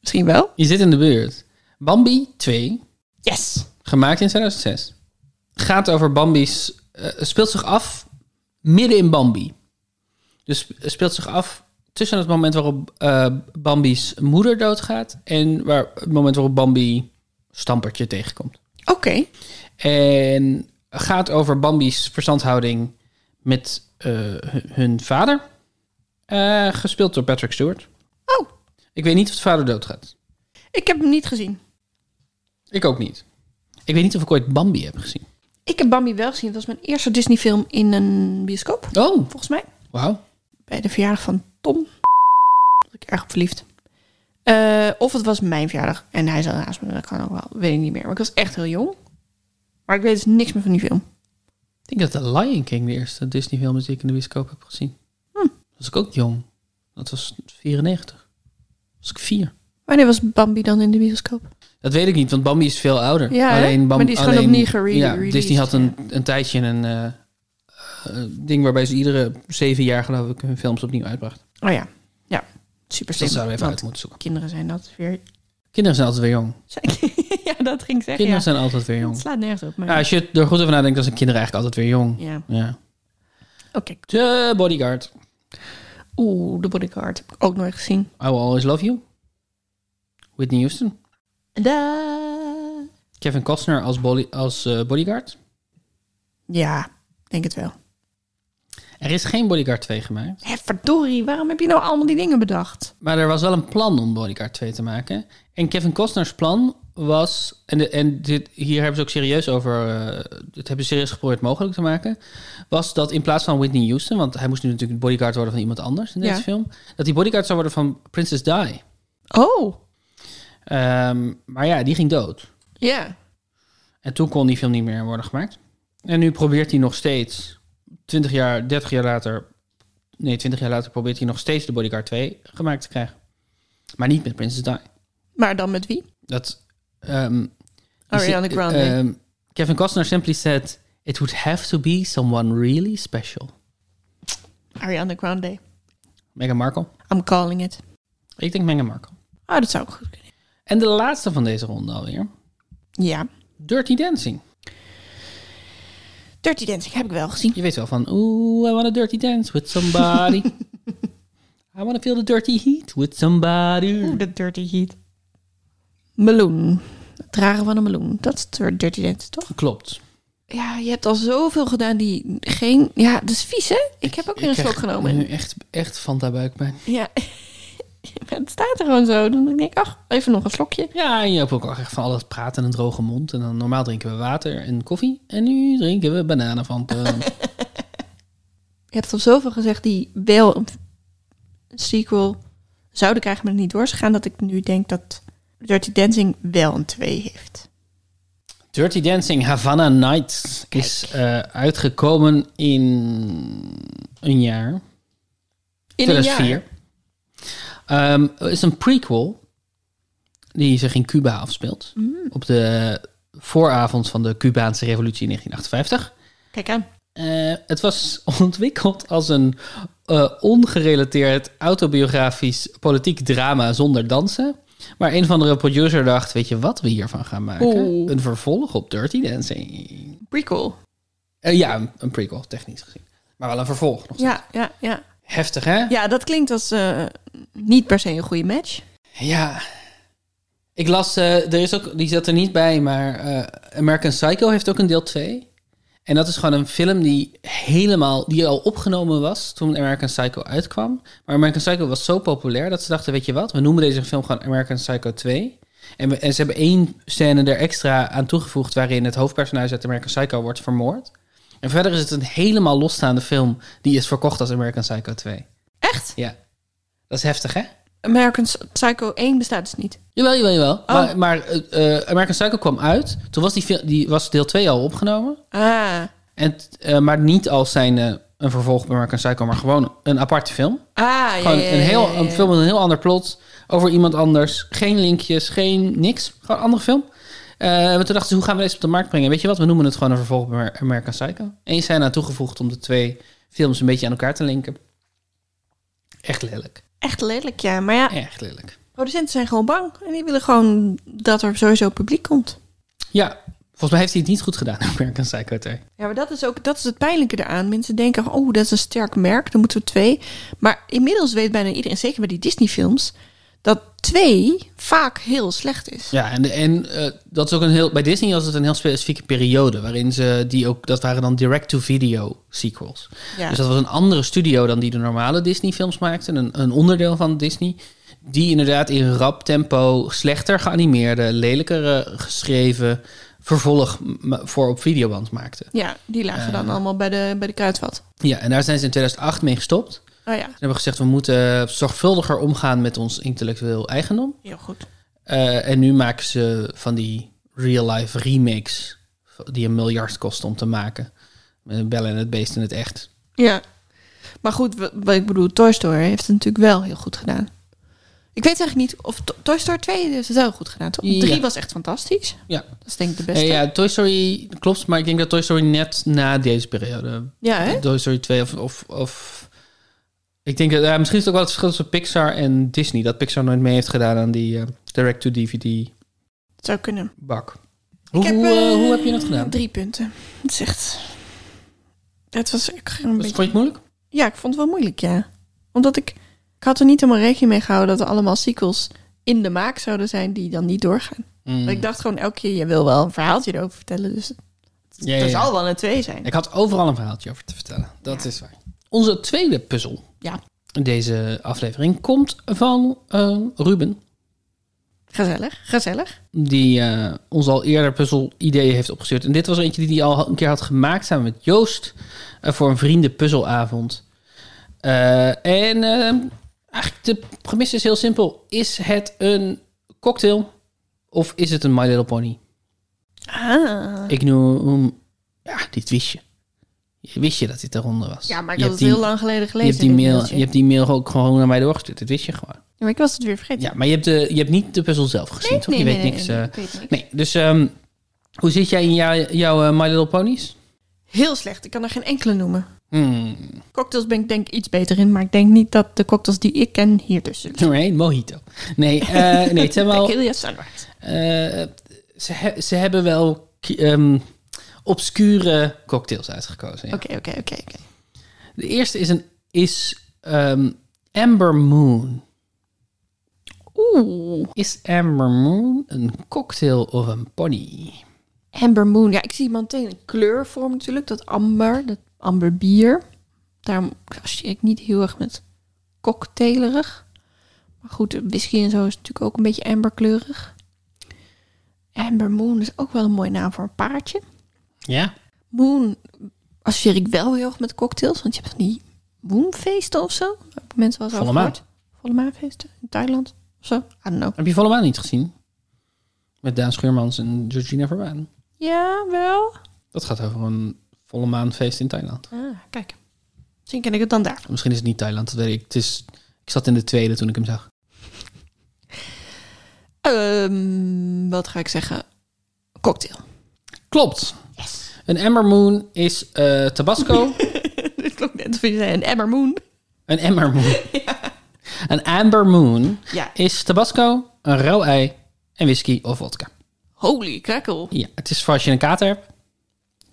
S2: misschien wel.
S1: Je zit in de buurt. Bambi 2,
S2: Yes!
S1: gemaakt in 2006, gaat over Bambi's... eh, speelt zich af midden in Bambi. Dus speelt zich af tussen het moment waarop eh, Bambi's moeder doodgaat... en waar, het moment waarop Bambi Stampertje tegenkomt.
S2: Oké.
S1: En gaat over Bambi's verstandhouding met eh, hun- hun vader. Eh, gespeeld door Patrick Stewart.
S2: Oh,
S1: Ik weet niet of de vader doodgaat.
S2: ik heb hem niet gezien.
S1: Ik ook niet. Ik weet niet of ik ooit Bambi heb gezien.
S2: Ik heb Bambi wel gezien. Het was mijn eerste Disney film in een bioscoop,
S1: Oh,
S2: volgens mij.
S1: wauw.
S2: Bij de verjaardag van Tom. was ik erg op verliefd. Eh, of het was mijn verjaardag. En hij zat naast me. Dat kan ook wel. Weet ik niet meer. Maar ik was echt heel jong. Maar ik weet dus niks meer van die film.
S1: Ik denk dat The Lion King de eerste Disney-film is die ik in de bioscoop heb gezien.
S2: Hm.
S1: was ik ook jong. Dat was 94. was ik vier.
S2: Wanneer was Bambi dan in de bioscoop?
S1: Dat weet ik niet, want Bambi is veel ouder.
S2: Ja, hè?
S1: Bam-
S2: Maar die is gewoon
S1: alleen-
S2: opnieuw gere-
S1: Ja,
S2: released,
S1: Disney had een, een tijdje een eh, eh, ding waarbij ze iedere zeven jaar geloof ik hun films opnieuw uitbrachten.
S2: Oh ja. Ja. Super
S1: Dus dat
S2: slim.
S1: zouden we even
S2: Want-
S1: uit moeten zoeken.
S2: kinderen zijn dat weer.
S1: Kinderen zijn altijd weer jong.
S2: [LAUGHS] ja, dat ging ik zeggen.
S1: Kinderen
S2: Ja.
S1: zijn altijd weer
S2: Het
S1: jong.
S2: slaat nergens op. Maar
S1: Ja, als je er goed over nadenkt, dan zijn kinderen eigenlijk altijd weer jong.
S2: ja.
S1: Ja.
S2: Oké.
S1: The Bodyguard.
S2: Oeh, de bodyguard heb ik ook nooit gezien.
S1: I Will Always Love You. Whitney Houston.
S2: Da.
S1: Kevin Costner als, body- als eh, bodyguard.
S2: Ja, denk het wel.
S1: Er is geen Bodyguard 2 gemaakt.
S2: Hé, verdorie, waarom heb je nou allemaal die dingen bedacht?
S1: Maar er was wel een plan om Bodyguard 2 te maken. En Kevin Costner's plan was... En, de, en dit, hier hebben ze ook serieus over... eh dit hebben ze serieus geprobeerd mogelijk te maken. Was dat in plaats van Whitney Houston... Want hij moest nu natuurlijk een bodyguard worden van iemand anders in deze
S2: Ja.
S1: film. Dat hij bodyguard zou worden van Princess Di.
S2: Oh,
S1: Ehm, maar ja, die ging dood.
S2: ja.
S1: En toen kon die film niet meer worden gemaakt. En nu probeert hij nog steeds, 20 jaar, 30 jaar later, nee, 20 jaar later probeert hij nog steeds de Bodyguard 2 gemaakt te krijgen. Maar niet met Princess Di.
S2: Maar dan met wie?
S1: Dat, ehm,
S2: Oh, Ariana
S1: die-
S2: Grande.
S1: ehm, Kevin Costner simply said, it would have to be someone really special.
S2: Ariana Grande.
S1: Meghan Markle?
S2: I'm calling it.
S1: Ik denk Meghan Markle.
S2: Oké. Oh, dat zou ook goed kunnen.
S1: En de laatste van deze ronde alweer.
S2: Ja.
S1: Dirty Dancing.
S2: Dirty Dancing heb ik wel gezien.
S1: Je weet wel van, ooh, I wanna dirty dance with
S2: [LAUGHS]
S1: somebody. I wanna feel the dirty heat with somebody.
S2: de Dirty Heat. Meloen. Het dragen van een meloen. Dat is de Dirty Dancing, toch?
S1: Klopt.
S2: Ja, je hebt al zoveel gedaan die geen... Ja, dat is vies, hè? Ik heb ook weer een slok genomen.
S1: Nu echt, echt Fanta buikpijn.
S2: Ja. [LAUGHS] Maar het staat er gewoon zo. Dan denk ik, ach, even nog een slokje.
S1: Ja, en je hebt ook al echt van alles praten en een droge mond. En dan normaal drinken we water en koffie. En nu drinken we
S2: [LAUGHS]
S1: bananenfanta.
S2: Je hebt al zoveel gezegd die wel een een sequel zouden krijgen, maar er niet door zou gaan. Dat ik nu denk dat Dirty Dancing wel een 2 heeft.
S1: Dirty Dancing Havana Nights is eh, uitgekomen in een jaar.
S2: In
S1: 2004. Ehm, er is een prequel die zich in Cuba afspeelt.
S2: Mm.
S1: Op de vooravond van de Cubaanse revolutie in 1958.
S2: Kijk aan.
S1: Eh, het was [LAUGHS] ontwikkeld als een eh, ongerelateerd autobiografisch politiek drama zonder dansen. Maar een van de producer dacht, weet je wat we hiervan gaan maken?
S2: Oeh.
S1: Een vervolg op Dirty Dancing.
S2: Prequel.
S1: Eh, ja, een, een prequel, technisch gezien. Maar wel een vervolg. Nog.
S2: Ja, ja, ja.
S1: Heftig, hè?
S2: Ja, dat klinkt als eh, niet per se een goede match.
S1: Ja. Ik las, eh, er is ook, die zat er niet bij, maar eh, American Psycho heeft ook een deel 2. En dat is gewoon een film die helemaal, die al opgenomen was toen American Psycho uitkwam. Maar American Psycho was zo populair dat ze dachten, weet je wat, we noemen deze film gewoon American Psycho 2. En, we, en ze hebben één scène er extra aan toegevoegd waarin het hoofdpersonage uit American Psycho wordt vermoord. En verder is het een helemaal losstaande film die is verkocht als American Psycho 2.
S2: Echt?
S1: Ja, dat is heftig hè?
S2: American Psycho 1 bestaat dus niet.
S1: Jawel, jawel, jawel. Maar, maar eh, eh, American Psycho kwam uit. Toen was, die, fil- die was deel 2 al opgenomen.
S2: Ah,
S1: En, t- eh, maar niet als zijn eh, een vervolg bij American Psycho, maar gewoon een aparte film.
S2: ah ja,
S1: Gewoon
S2: ja,
S1: een,
S2: ja,
S1: heel,
S2: ja,
S1: een
S2: ja.
S1: film met een heel ander plot. Over iemand anders. Geen linkjes, geen niks. Gewoon een andere film. Eh, maar toen dachten ze, hoe gaan we deze op de markt brengen? Weet je wat, we noemen het gewoon een vervolg bij Amer- American Psycho. Eén zijn aan toegevoegd om de twee films een beetje aan elkaar te linken. Echt lelijk.
S2: Echt lelijk, ja. Maar ja,
S1: Echt lelijk.
S2: producenten zijn gewoon bang. En die willen gewoon dat er sowieso publiek komt.
S1: Ja, volgens mij heeft hij het niet goed gedaan, [LAUGHS] American Psycho 2.
S2: Ja, maar dat is ook dat is het pijnlijke eraan. Mensen denken, oh, dat is een sterk merk, dan moeten we twee. Maar inmiddels weet bijna iedereen, zeker bij die Disney-films, dat twee vaak heel slecht is.
S1: Ja, en, en eh, dat is ook een heel. Bij Disney was het een heel specifieke periode. Waarin ze die ook. Dat waren dan direct-to-video sequels.
S2: Ja.
S1: Dus dat was een andere studio dan die de normale Disney-films maakten. Een, een onderdeel van Disney. Die inderdaad in rap tempo slechter geanimeerde, lelijkere geschreven vervolg m- voor op videoband maakte.
S2: Ja, die lagen dan allemaal bij de, bij de kruidvat.
S1: Ja, en daar zijn ze in 2008 mee gestopt. Ze
S2: Oh ja,
S1: hebben gezegd, we moeten zorgvuldiger omgaan met ons intellectueel eigendom.
S2: heel goed.
S1: Eh, en nu maken ze van die real-life remakes die een miljard kosten om te maken. Met Bellen en het beest in het echt.
S2: Ja. Maar goed, wa- wat ik bedoel, Toy Story heeft het natuurlijk wel heel goed gedaan. Ik weet eigenlijk niet of To- Toy Story 2 heeft het wel goed gedaan, toch?
S1: Ja.
S2: 3 was echt fantastisch.
S1: Ja.
S2: Dat is denk ik de beste.
S1: Eh, ja, Toy Story klopt, maar ik denk dat Toy Story net na deze periode.
S2: Ja, hè?
S1: Toy Story 2 of. of, of ik denk dat ja, misschien is het ook wel het verschil tussen Pixar en Disney. Dat Pixar nooit mee heeft gedaan aan die eh, direct-to-DVD-bak.
S2: Het zou kunnen.
S1: Hoe,
S2: Ik heb,
S1: hoe, eh,
S2: eh,
S1: hoe heb je dat gedaan?
S2: Drie punten. Het is echt... Het was echt
S1: Was- Vond
S2: een
S1: je
S2: beetje...
S1: het moeilijk?
S2: Ja, ik vond het wel moeilijk, ja. Omdat ik... Ik had er niet helemaal rekening mee gehouden dat er allemaal sequels in de maak zouden zijn die dan niet doorgaan.
S1: Mm.
S2: Ik dacht gewoon elke keer, je wil wel een verhaaltje erover vertellen, dus
S1: Ja, ja,
S2: er
S1: ja.
S2: zal wel een twee zijn.
S1: Ik had overal een verhaaltje over te vertellen. Dat is waar. Onze tweede puzzel
S2: Ja,
S1: in deze aflevering komt van eh, Ruben.
S2: gezellig, gezellig.
S1: Die eh, ons al eerder puzzelideeën heeft opgestuurd. En dit was eentje die hij al een keer had gemaakt samen met Joost. eh, voor een vriendenpuzzelavond. Eh, en eh, eigenlijk de premisse is heel simpel. Is het een cocktail of is het een My Little Pony?
S2: Ah.
S1: Ik noem... Ja, dit wist je. Je Wist je dat dit de ronde was?
S2: Ja, maar ik
S1: Je hebt
S2: had het
S1: die-
S2: heel lang geleden
S1: Je hebt,
S2: gelezen.
S1: die
S2: dit
S1: mail,
S2: mailtje.
S1: je hebt die mail ook gewoon naar mij doorgestuurd. Dat wist je gewoon.
S2: Ja, maar ik was het weer vergeten.
S1: Ja, maar je hebt, de, je hebt niet de puzzel zelf gezien, toch? je weet niks. eh,
S2: nee,
S1: Nee,
S2: ik weet niks.
S1: dus ehm, hoe zit jij in jou- jouw eh, My Little Ponies?
S2: Heel slecht, ik kan er geen enkele noemen.
S1: Hmm. [LAUGHS]
S2: Cocktails ben ik denk ik iets beter in, maar ik denk niet dat de cocktails die ik ken hier tussen liggen.
S1: Nee, mojito. Nee, eh, nee
S2: [LAUGHS]
S1: het zijn wel...
S2: Tequila sunrise.
S1: eh, ze, he- ze hebben wel ki- ehm, obscure cocktails uitgekozen. ja.
S2: Oké, oké, oké. oké.
S1: De eerste is, een, is ehm, Amber Moon.
S2: Oeh,
S1: Is Amber Moon een cocktail of een pony?
S2: Amber Moon. Ja, ik zie meteen een kleurvorm natuurlijk. Dat amber, dat amberbier. Daarom associeer ik niet heel erg met cocktailerig. Maar goed, whisky en zo is natuurlijk ook een beetje amberkleurig. Amber Moon is ook wel een mooie naam voor een paardje.
S1: Ja.
S2: Moon associeer ik wel heel erg met cocktails. Want je hebt van die moonfeesten of zo. Daar heb ik mensen wel eens
S1: Volle
S2: over
S1: maan.
S2: gehoord. Volle maanfeesten in Thailand of zo. I don't know.
S1: Heb je Volle Maan niet gezien? Met Daan Schuurmans en Georgina Verbaan.
S2: Ja, wel.
S1: Dat gaat over een volle maanfeest in Thailand.
S2: Ah, kijk. Misschien ken ik het dan daar.
S1: Misschien is het niet Thailand, dat weet ik. Het is, ik zat in de tweede toen ik hem zag.
S2: Ehm, wat ga ik zeggen? Cocktail. [LAUGHS]
S1: Klopt.
S2: Yes.
S1: Een Amber Moon is eh, Tabasco.
S2: Dit klonk net of je zei een Emmer Moon.
S1: een Amber Moon. Een Amber Moon
S2: Ja.
S1: is Tabasco, een rauw ei en whisky of vodka.
S2: Holy crackle.
S1: Ja, het is voor als je een kater hebt.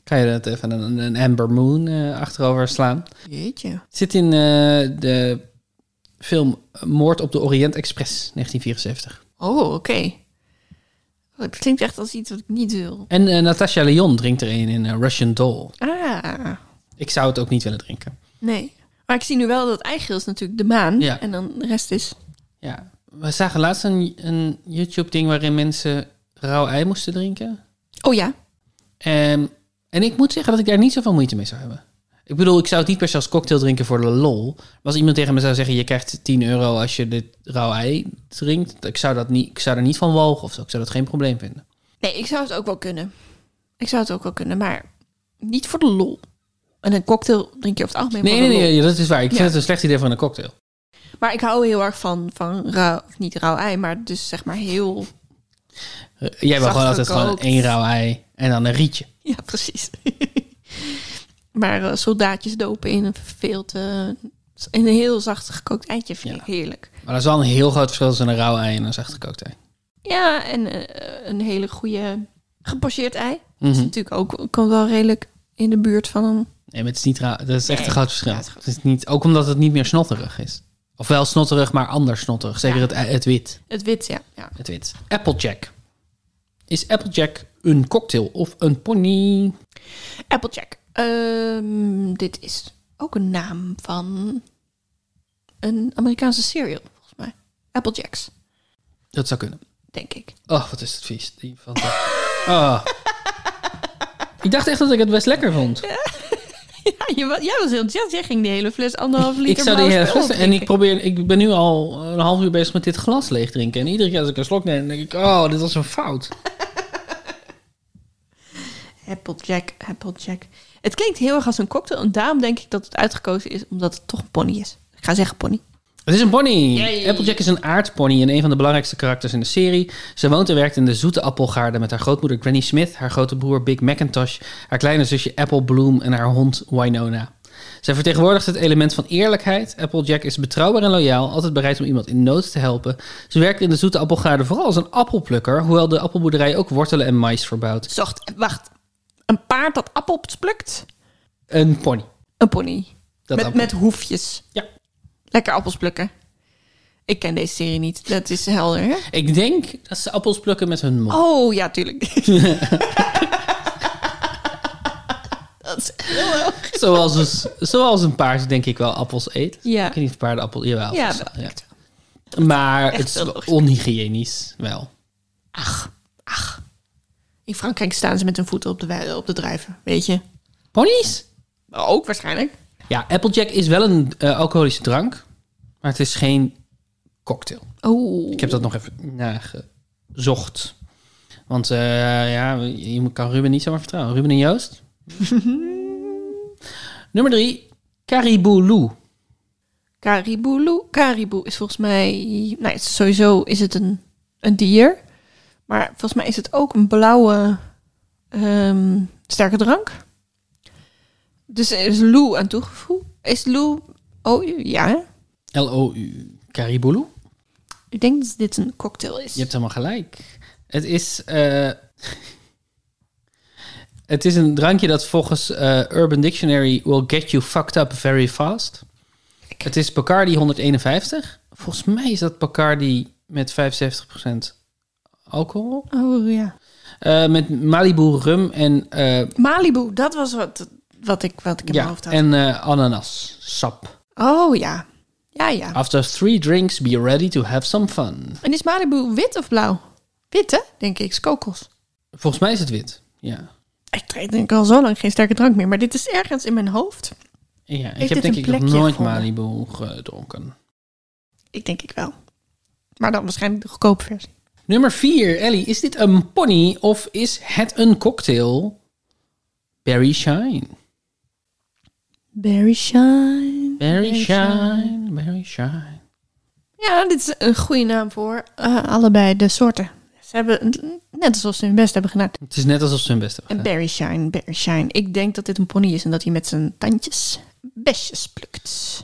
S1: Kan je dat even een, een Amber Moon eh, achterover slaan.
S2: Jeetje.
S1: Het zit in eh, de film Moord op de Orient Express, 1974.
S2: Oh, oké. Oh, Het klinkt echt als iets wat ik niet wil.
S1: En eh, Natasha Leon drinkt er een in eh, Russian Doll.
S2: Ah,
S1: Ik zou het ook niet willen drinken.
S2: nee. Maar ik zie nu wel dat het eigeel is natuurlijk de maan.
S1: Ja.
S2: En dan de rest is...
S1: Ja, we zagen laatst een, een YouTube-ding waarin mensen rauw ei moesten drinken.
S2: Oh ja.
S1: En, en ik moet zeggen dat ik daar niet zoveel moeite mee zou hebben. Ik bedoel, ik zou het niet per se als cocktail drinken voor de lol. Maar als iemand tegen me zou zeggen, je krijgt 10 euro als je dit rauw ei drinkt. Ik zou, dat niet, ik zou er niet van walgen of zo. Ik zou dat geen probleem vinden.
S2: Nee, ik zou het ook wel kunnen. Ik zou het ook wel kunnen, maar niet voor de lol. En een cocktail drink je over het algemeen
S1: Nee,
S2: voor
S1: nee,
S2: de lol.
S1: nee, ja, dat is waar. Ik vind
S2: Ja.
S1: het een slecht idee voor een cocktail.
S2: Maar ik hou heel erg van, van rauw, of niet rauw ei, maar dus zeg maar heel...
S1: Eh, Jij wil
S2: Zacht
S1: gewoon altijd
S2: gekookt.
S1: gewoon één rauw ei en dan een rietje.
S2: [LAUGHS] Ja, precies. maar eh, soldaatjes dopen in een verveeld... eh, in een heel zacht gekookt eitje vind
S1: Ja.
S2: ik heerlijk.
S1: Maar dat is wel een heel groot verschil tussen een rauw ei en een zachtgekookt ei.
S2: Ja, en eh, een hele goede gepocheerd ei. Dat is
S1: Mhm.
S2: natuurlijk ook, komt wel redelijk in de buurt van een...
S1: Nee, maar het is niet rauw. Dat is echt een
S2: Nee,
S1: groot verschil.
S2: ja, het is
S1: het is niet, ook omdat het niet meer snotterig is. Of wel snotterig, maar anders snotterig. Zeker
S2: Ja.
S1: het, ei- het wit.
S2: Het wit, ja. ja.
S1: Het wit. Applejack. Is Applejack een cocktail of een pony?
S2: Applejack. Ehm, dit is ook een naam van een Amerikaanse cereal, volgens mij. Applejacks,
S1: Dat zou kunnen.
S2: denk ik. [LAUGHS]
S1: Oh, wat is het vies. Die van oh. Ik dacht echt dat ik het best lekker vond.
S2: Ja, je, wa- jij was heel enthousiast. Jij ging die hele fles anderhalf liter
S1: [LAUGHS] Ik zou die
S2: blauw
S1: hele
S2: spul
S1: fles- en ik
S2: drinken.
S1: probeer, ik ben nu al een half uur bezig met dit glas leeg drinken. En iedere keer als ik een slok neem, denk ik, oh, dit was een fout.
S2: Applejack, Applejack. Het klinkt heel erg als een cocktail. En daarom denk ik dat het uitgekozen is, omdat het toch een pony is. Ik ga zeggen pony.
S1: Het is een pony.
S2: Yay.
S1: Applejack is een aardpony en een van de belangrijkste karakters in de serie. Ze woont en werkt in de zoete appelgaarden met haar grootmoeder Granny Smith, haar grote broer Big Macintosh, haar kleine zusje Apple Bloom en haar hond Winona. Zij vertegenwoordigt het element van eerlijkheid. Applejack is betrouwbaar en loyaal, altijd bereid om iemand in nood te helpen. Ze werkt in de zoete appelgaarden vooral als een appelplukker, hoewel de appelboerderij ook wortelen en mais verbouwt.
S2: Zocht, wacht. Een paard dat appels plukt?
S1: Een pony.
S2: Een pony.
S1: Dat
S2: met,
S1: appel-
S2: met hoefjes.
S1: Ja.
S2: Lekker appels plukken. Ik ken deze serie niet. Dat is helder, hè?
S1: Ik denk dat ze appels plukken met hun mond.
S2: Oh, ja,
S1: [LAUGHS]
S2: tuurlijk. dat is heel erg.
S1: Zoals, een- zoals een paard denk ik wel appels eet.
S2: Ja.
S1: Ik weet niet of paarden appel, jawel.
S2: Ja,
S1: appels- ja. Maar het
S2: heel
S1: is
S2: logisch.
S1: onhygiënisch wel.
S2: Ach, ach. In Frankrijk staan ze met hun voeten op de, wei- op de drijven, weet je.
S1: Ponies?
S2: Ook waarschijnlijk.
S1: Ja, Applejack is wel een eh, alcoholische drank, maar het is geen cocktail.
S2: Oh.
S1: Ik heb dat nog even nagezocht. Want eh, ja, je kan Ruben niet zomaar vertrouwen. Ruben en
S2: [LAUGHS]
S1: Joost. Nummer drie, Caribou Lou.
S2: Caribou. Lou. Caribou is volgens mij... Nou, het is sowieso is het een, een dier. Maar volgens mij is het ook een blauwe ehm, sterke drank. Dus er is Lou aan toegevoegd. Is Lou... Oh, ja. hè?
S1: L-O-U. Caribulu?
S2: Ik denk dat dit een cocktail is.
S1: Je hebt helemaal gelijk. Het is, eh, [LAUGHS] het is een drankje dat volgens eh, Urban Dictionary will get you fucked up very fast. Het is Bacardi 151. Volgens mij is dat Bacardi met 75% alcohol.
S2: Oh, ja.
S1: Eh, met Malibu rum en, eh,
S2: Malibu, dat was wat, wat, ik, wat ik in mijn
S1: ja,
S2: hoofd had.
S1: en eh ananas sap.
S2: Oh, ja. Ja, ja.
S1: After three drinks, be ready to have some fun.
S2: En is Malibu wit of blauw? Wit, hè? Denk ik. Is kokos.
S1: Volgens mij is het wit. Ja.
S2: Ik drink denk ik al zo lang geen sterke drank meer. Maar dit is ergens in mijn hoofd.
S1: ja. Ik
S2: dit
S1: heb denk
S2: een
S1: ik nog
S2: plekje
S1: nooit
S2: gevonden?
S1: Malibu gedronken.
S2: Ik denk ik wel. Maar dan waarschijnlijk de goedkope versie.
S1: Nummer 4, Ellie. Is dit een pony of is het een cocktail? Berry Shine.
S2: Berry Shine.
S1: Berry Shine. Berry Shine.
S2: Ja, dit is een goede naam voor eh, allebei de soorten. Ze hebben, net alsof ze hun best hebben gedaan.
S1: Het is net alsof ze hun best hebben
S2: En
S1: gedaan.
S2: Berry Shine, Berry Shine. Ik denk dat dit een pony is en dat hij met zijn tandjes besjes
S1: [LAUGHS]
S2: plukt.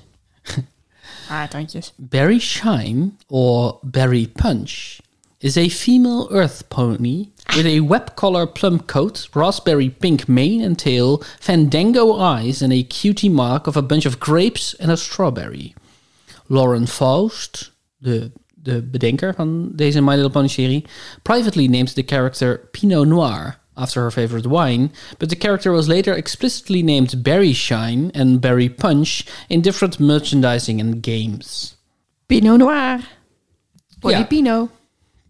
S2: Haar tandjes.
S1: Berry Shine or Berry Punch is a female earth pony with a web collar plum coat, raspberry pink mane and tail, fandango eyes, and a cutie mark of a bunch of grapes and a strawberry. Lauren Faust, de, de bedenker van deze My Little Pony serie, privately named the character Pinot Noir after her favorite wine, but the character was later explicitly named Berry Shine and Berry Punch in different merchandising and games.
S2: Pinot Noir. Pony
S1: Ja.
S2: Pinot.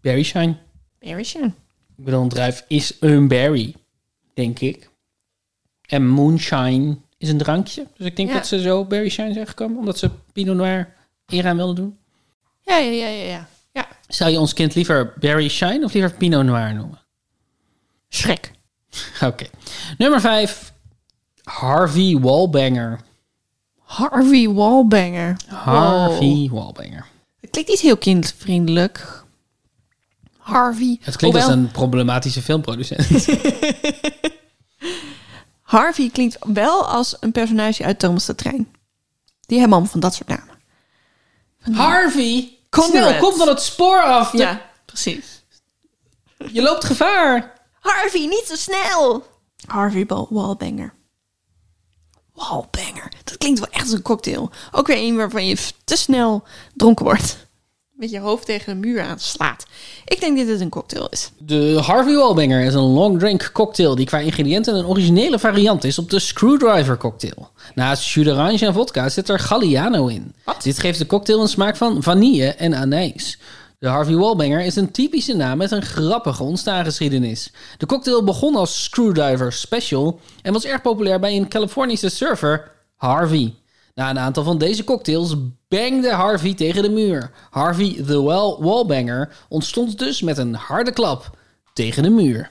S1: Berry Shine.
S2: Berry Shine.
S1: Ik bedoel, een druif is een berry, denk ik. En moonshine is een drankje. Dus ik denk
S2: Ja.
S1: dat ze zo berry shine zijn gekomen, omdat ze Pinot Noir eer aan wilden doen.
S2: Ja, ja, ja, ja, ja. Ja.
S1: Zou je ons kind liever berry shine of liever Pinot Noir noemen? [LAUGHS]
S2: Schrek.
S1: Oké. Nummer 5. Harvey Wallbanger.
S2: Harvey Wallbanger. Wow.
S1: Harvey Wallbanger.
S2: Het klinkt niet heel kindvriendelijk. Harvey.
S1: Het klinkt
S2: Hoewel,
S1: als een problematische
S2: [LAUGHS]
S1: filmproducent.
S2: Harvey klinkt wel als een personage uit Thomas de Trein. Die hebben allemaal van dat soort namen.
S1: Harvey!
S2: Conrad.
S1: Snel, kom van het spoor af!
S2: Ja, precies.
S1: Je loopt gevaar!
S2: Harvey, niet zo snel! Harvey Bal- Wallbanger. Wallbanger. Dat klinkt wel echt als een cocktail. Ook weer een waarvan je f- te snel dronken wordt. Met je hoofd tegen een muur aanslaat. Ik denk dat dit een cocktail is.
S1: De Harvey Wallbanger is een long drink cocktail die qua ingrediënten een originele variant is op de Screwdriver cocktail. Naast jus d'orange en vodka zit er Galliano in. Dit geeft de cocktail een smaak van vanille en anijs. De Harvey Wallbanger is een typische naam met een grappige ontstaansgeschiedenis. De cocktail begon als Screwdriver Special en was erg populair bij een Californische surfer, Harvey. Na een aantal van deze cocktails bangde Harvey tegen de muur. Harvey the Well Wallbanger ontstond dus met een harde klap tegen de muur.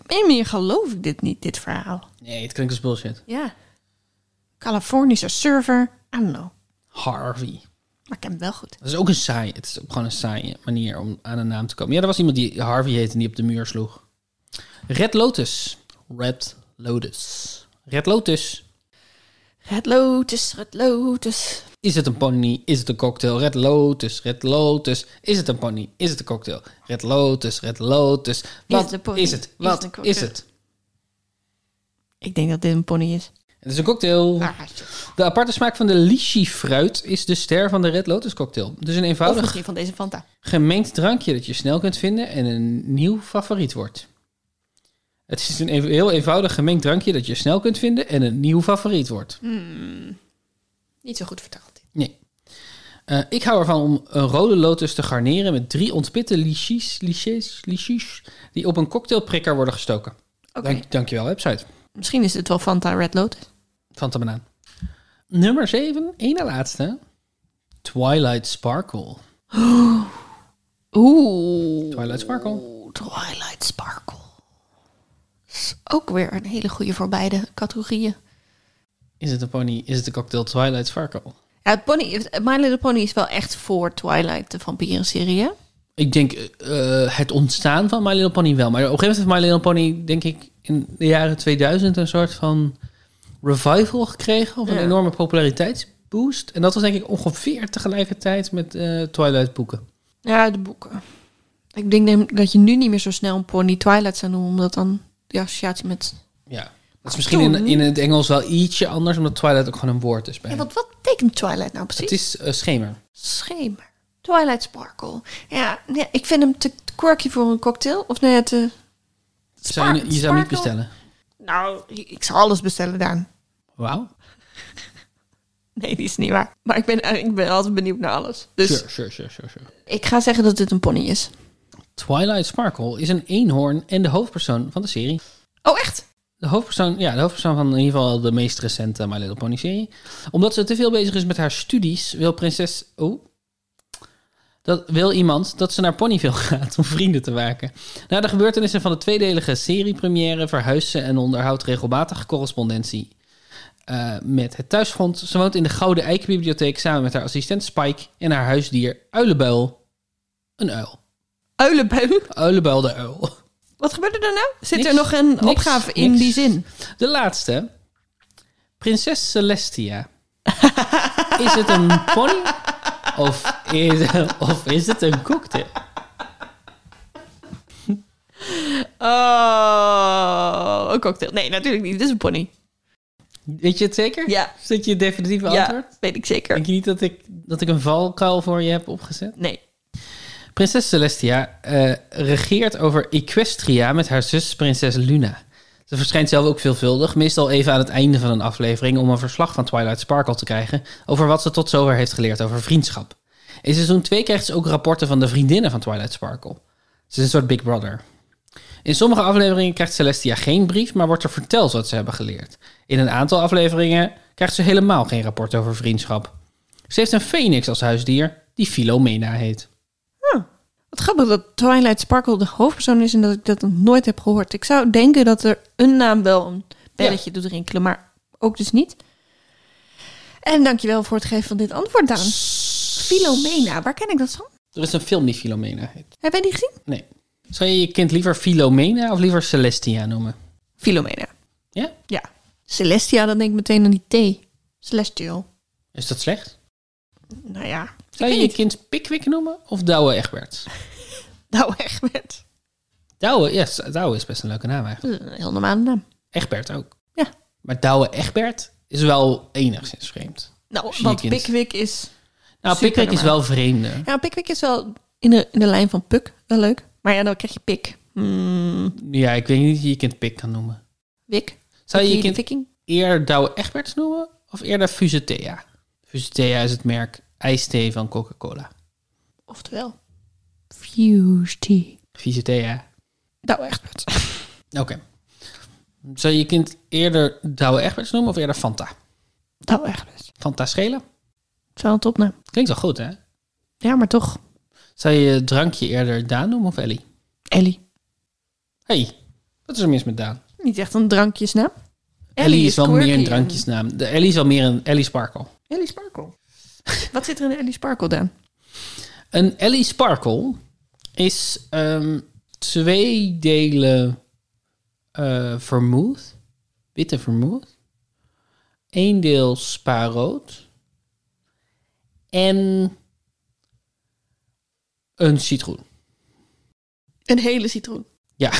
S2: Op een manier geloof ik dit niet, dit verhaal.
S1: Nee, het klinkt als bullshit.
S2: Ja. Californische server. I don't know.
S1: Harvey.
S2: Maar ik ken hem wel goed.
S1: Dat is ook een saai. Het is ook gewoon een saaie manier om aan een naam te komen. Ja, er was iemand die Harvey heette en die op de muur sloeg. Red Lotus. Red Lotus. Red Lotus.
S2: Red Lotus, Red Lotus.
S1: Is het een pony? Is het een cocktail? Red Lotus, Red Lotus. Is het een pony? Is het een cocktail? Red Lotus, Red Lotus. Wat
S2: het een pony?
S1: is het?
S2: Is
S1: Wat
S2: het een cocktail?
S1: is het?
S2: Ik denk dat dit een pony is. Ah,
S1: Het is een cocktail. De aparte smaak van de lychee-fruit is de ster van de Red Lotus cocktail. Dus een
S2: Of
S1: eenvoudig
S2: misschien van deze Fanta.
S1: gemengd drankje dat je snel kunt vinden en een nieuw favoriet wordt. Het is een een heel eenvoudig gemengd drankje dat je snel kunt vinden en een nieuw favoriet wordt.
S2: Niet zo goed vertaald.
S1: Nee. Eh, ik hou ervan om een rode lotus te garneren met drie ontpitte lychees, lychees, lychees die op een cocktailprikker worden gestoken.
S2: Oké.
S1: Dank, dankjewel, website.
S2: Misschien is het wel Fanta Red Lotus.
S1: Fanta banaan. Nummer 7, één na laatste. Twilight Sparkle.
S2: Oeh.
S1: Twilight Sparkle.
S2: Twilight Sparkle. Is ook weer een hele goede voor beide categorieën.
S1: Is het een pony? Is het een cocktail Twilight Sparkle?
S2: Ja, het pony, My Little Pony is wel echt voor Twilight, de vampierenserie. hè?
S1: Ik denk eh, eh, het ontstaan van My Little Pony wel. Maar op een gegeven moment heeft My Little Pony, denk ik, in de jaren 2000 een soort van revival gekregen. Of een
S2: Ja.
S1: enorme populariteitsboost. En dat was denk ik ongeveer tegelijkertijd met eh, Twilight boeken.
S2: Ja, de boeken. Ik denk neem- dat je nu niet meer zo snel een pony Twilight zou noemen, omdat dan die associatie met...
S1: Ja. Dat is misschien in,
S2: Toen-
S1: in het Engels wel ietsje anders, omdat Twilight ook gewoon een woord is bij
S2: Ja,
S1: hen.
S2: want wat betekent Twilight nou precies?
S1: Het is eh, schemer.
S2: Schemer. Twilight Sparkle. Ja, nee, ik vind hem te te quirky voor een cocktail. Of nee, te...
S1: Zou je,
S2: Spark-
S1: je zou hem niet
S2: sparkle?
S1: bestellen.
S2: Nou, ik ik zou alles bestellen, Daan.
S1: Wauw.
S2: Nee, die is niet waar. Maar ik ben, eh, ik ben altijd benieuwd naar alles. Dus
S1: Sure, sure, sure, sure, sure.
S2: ik ga zeggen dat dit een pony is.
S1: Twilight Sparkle is een eenhoorn en de hoofdpersoon van de serie.
S2: Oh, echt?
S1: De hoofdpersoon, ja, de hoofdpersoon van in ieder geval de meest recente My Little Pony serie. Omdat ze te veel bezig is met haar studies, wil prinses... Oh. Dat wil iemand dat ze naar Ponyville [LAUGHS] gaat om vrienden te maken. Na de gebeurtenissen van de tweedelige seriepremière verhuist ze en onderhoudt regelmatig correspondentie eh, met het thuisfront. Ze woont in de Gouden Eikenbibliotheek samen met haar assistent Spike en haar huisdier Uilenbuil. Een uil.
S2: Uilenbui.
S1: Uilenbuil de uil.
S2: Wat gebeurde er nou? Zit
S1: Niks.
S2: er nog een
S1: Niks.
S2: opgave in
S1: Niks.
S2: die zin?
S1: De laatste. Prinses Celestia. [LAUGHS] Is het een pony? Of is, of is het een cocktail?
S2: Oh, een cocktail. Nee, natuurlijk niet. Dit is een pony.
S1: Weet je het zeker?
S2: Ja.
S1: Is dat je definitieve antwoord?
S2: Ja, weet ik zeker.
S1: Denk je niet dat ik, dat ik een valkuil voor je heb opgezet?
S2: Nee.
S1: Prinses Celestia eh, regeert over Equestria met haar zus prinses Luna. Ze verschijnt zelf ook veelvuldig, meestal even aan het einde van een aflevering om een verslag van Twilight Sparkle te krijgen over wat ze tot zover heeft geleerd over vriendschap. In seizoen 2 krijgt ze ook rapporten van de vriendinnen van Twilight Sparkle. Ze is een soort Big Brother. In sommige afleveringen krijgt Celestia geen brief, maar wordt er verteld wat ze hebben geleerd. In een aantal afleveringen krijgt ze helemaal geen rapport over vriendschap. Ze heeft een phoenix als huisdier die Philomena heet.
S2: Wat grappig dat Twilight Sparkle de hoofdpersoon is en dat ik dat nog nooit heb gehoord. Ik zou denken dat er een naam wel een belletje doet rinkelen, maar ook dus niet. En dankjewel voor het geven van dit antwoord, Daan. Philomena, waar ken ik dat van?
S1: Er is een film die Philomena heet.
S2: Heb jij die gezien?
S1: Nee. Zou je je kind liever Philomena of liever Celestia noemen?
S2: Philomena.
S1: Ja?
S2: Ja. Celestia, dan denk ik meteen aan die T. Celestial.
S1: Is dat slecht?
S2: Nou ja.
S1: Zou je je kind Pickwick noemen of Douwe Egberts?
S2: Nou, echt met. [LAUGHS]
S1: Douwe, yes, Douwe is best een leuke naam eigenlijk.
S2: Een heel normale naam.
S1: Egbert ook.
S2: Ja.
S1: Maar Douwe Egbert is wel enigszins vreemd. Als
S2: Nou,
S1: je
S2: want
S1: je kind-
S2: Pickwick is...
S1: Nou,
S2: Super
S1: Pickwick is
S2: normaal.
S1: wel vreemder.
S2: Ja, Pickwick is wel in de, in de lijn van Puk. Wel leuk. Maar ja, dan krijg je Pik. Hmm,
S1: Ja, ik weet niet of je je kind Pik kan noemen.
S2: Wik.
S1: Zou je je
S2: Wikkie de
S1: kind
S2: Viking?
S1: eerder Douwe Egberts noemen of eerder Fusetea? Fusetea is het merk ijsthee van Coca-Cola.
S2: Oftewel. Fuse tea.
S1: Fusetea.
S2: Nou, echt [LAUGHS] met.
S1: Oké. Zou je je kind eerder Douwe Egberts noemen of eerder Fanta?
S2: Nou, echt met.
S1: Fanta schelen?
S2: Het is wel een topnaam.
S1: Klinkt wel goed, hè?
S2: Ja, maar toch.
S1: Zou je je drankje eerder Daan noemen of Ellie?
S2: Ellie.
S1: hey, wat is er mis met Daan?
S2: Niet echt een drankjesnaam.
S1: Ellie, is, wel meer
S2: quirky
S1: een
S2: en-
S1: drankjesnaam. De Ellie is wel meer een Ellie Sparkle.
S2: Ellie Sparkle. [LAUGHS] Wat zit er in de Ellie Sparkle, dan?
S1: Een Ellie Sparkle is ehm, twee delen eh vermouth, witte vermouth, één deel spaarrood en een citroen.
S2: Een hele citroen.
S1: Ja.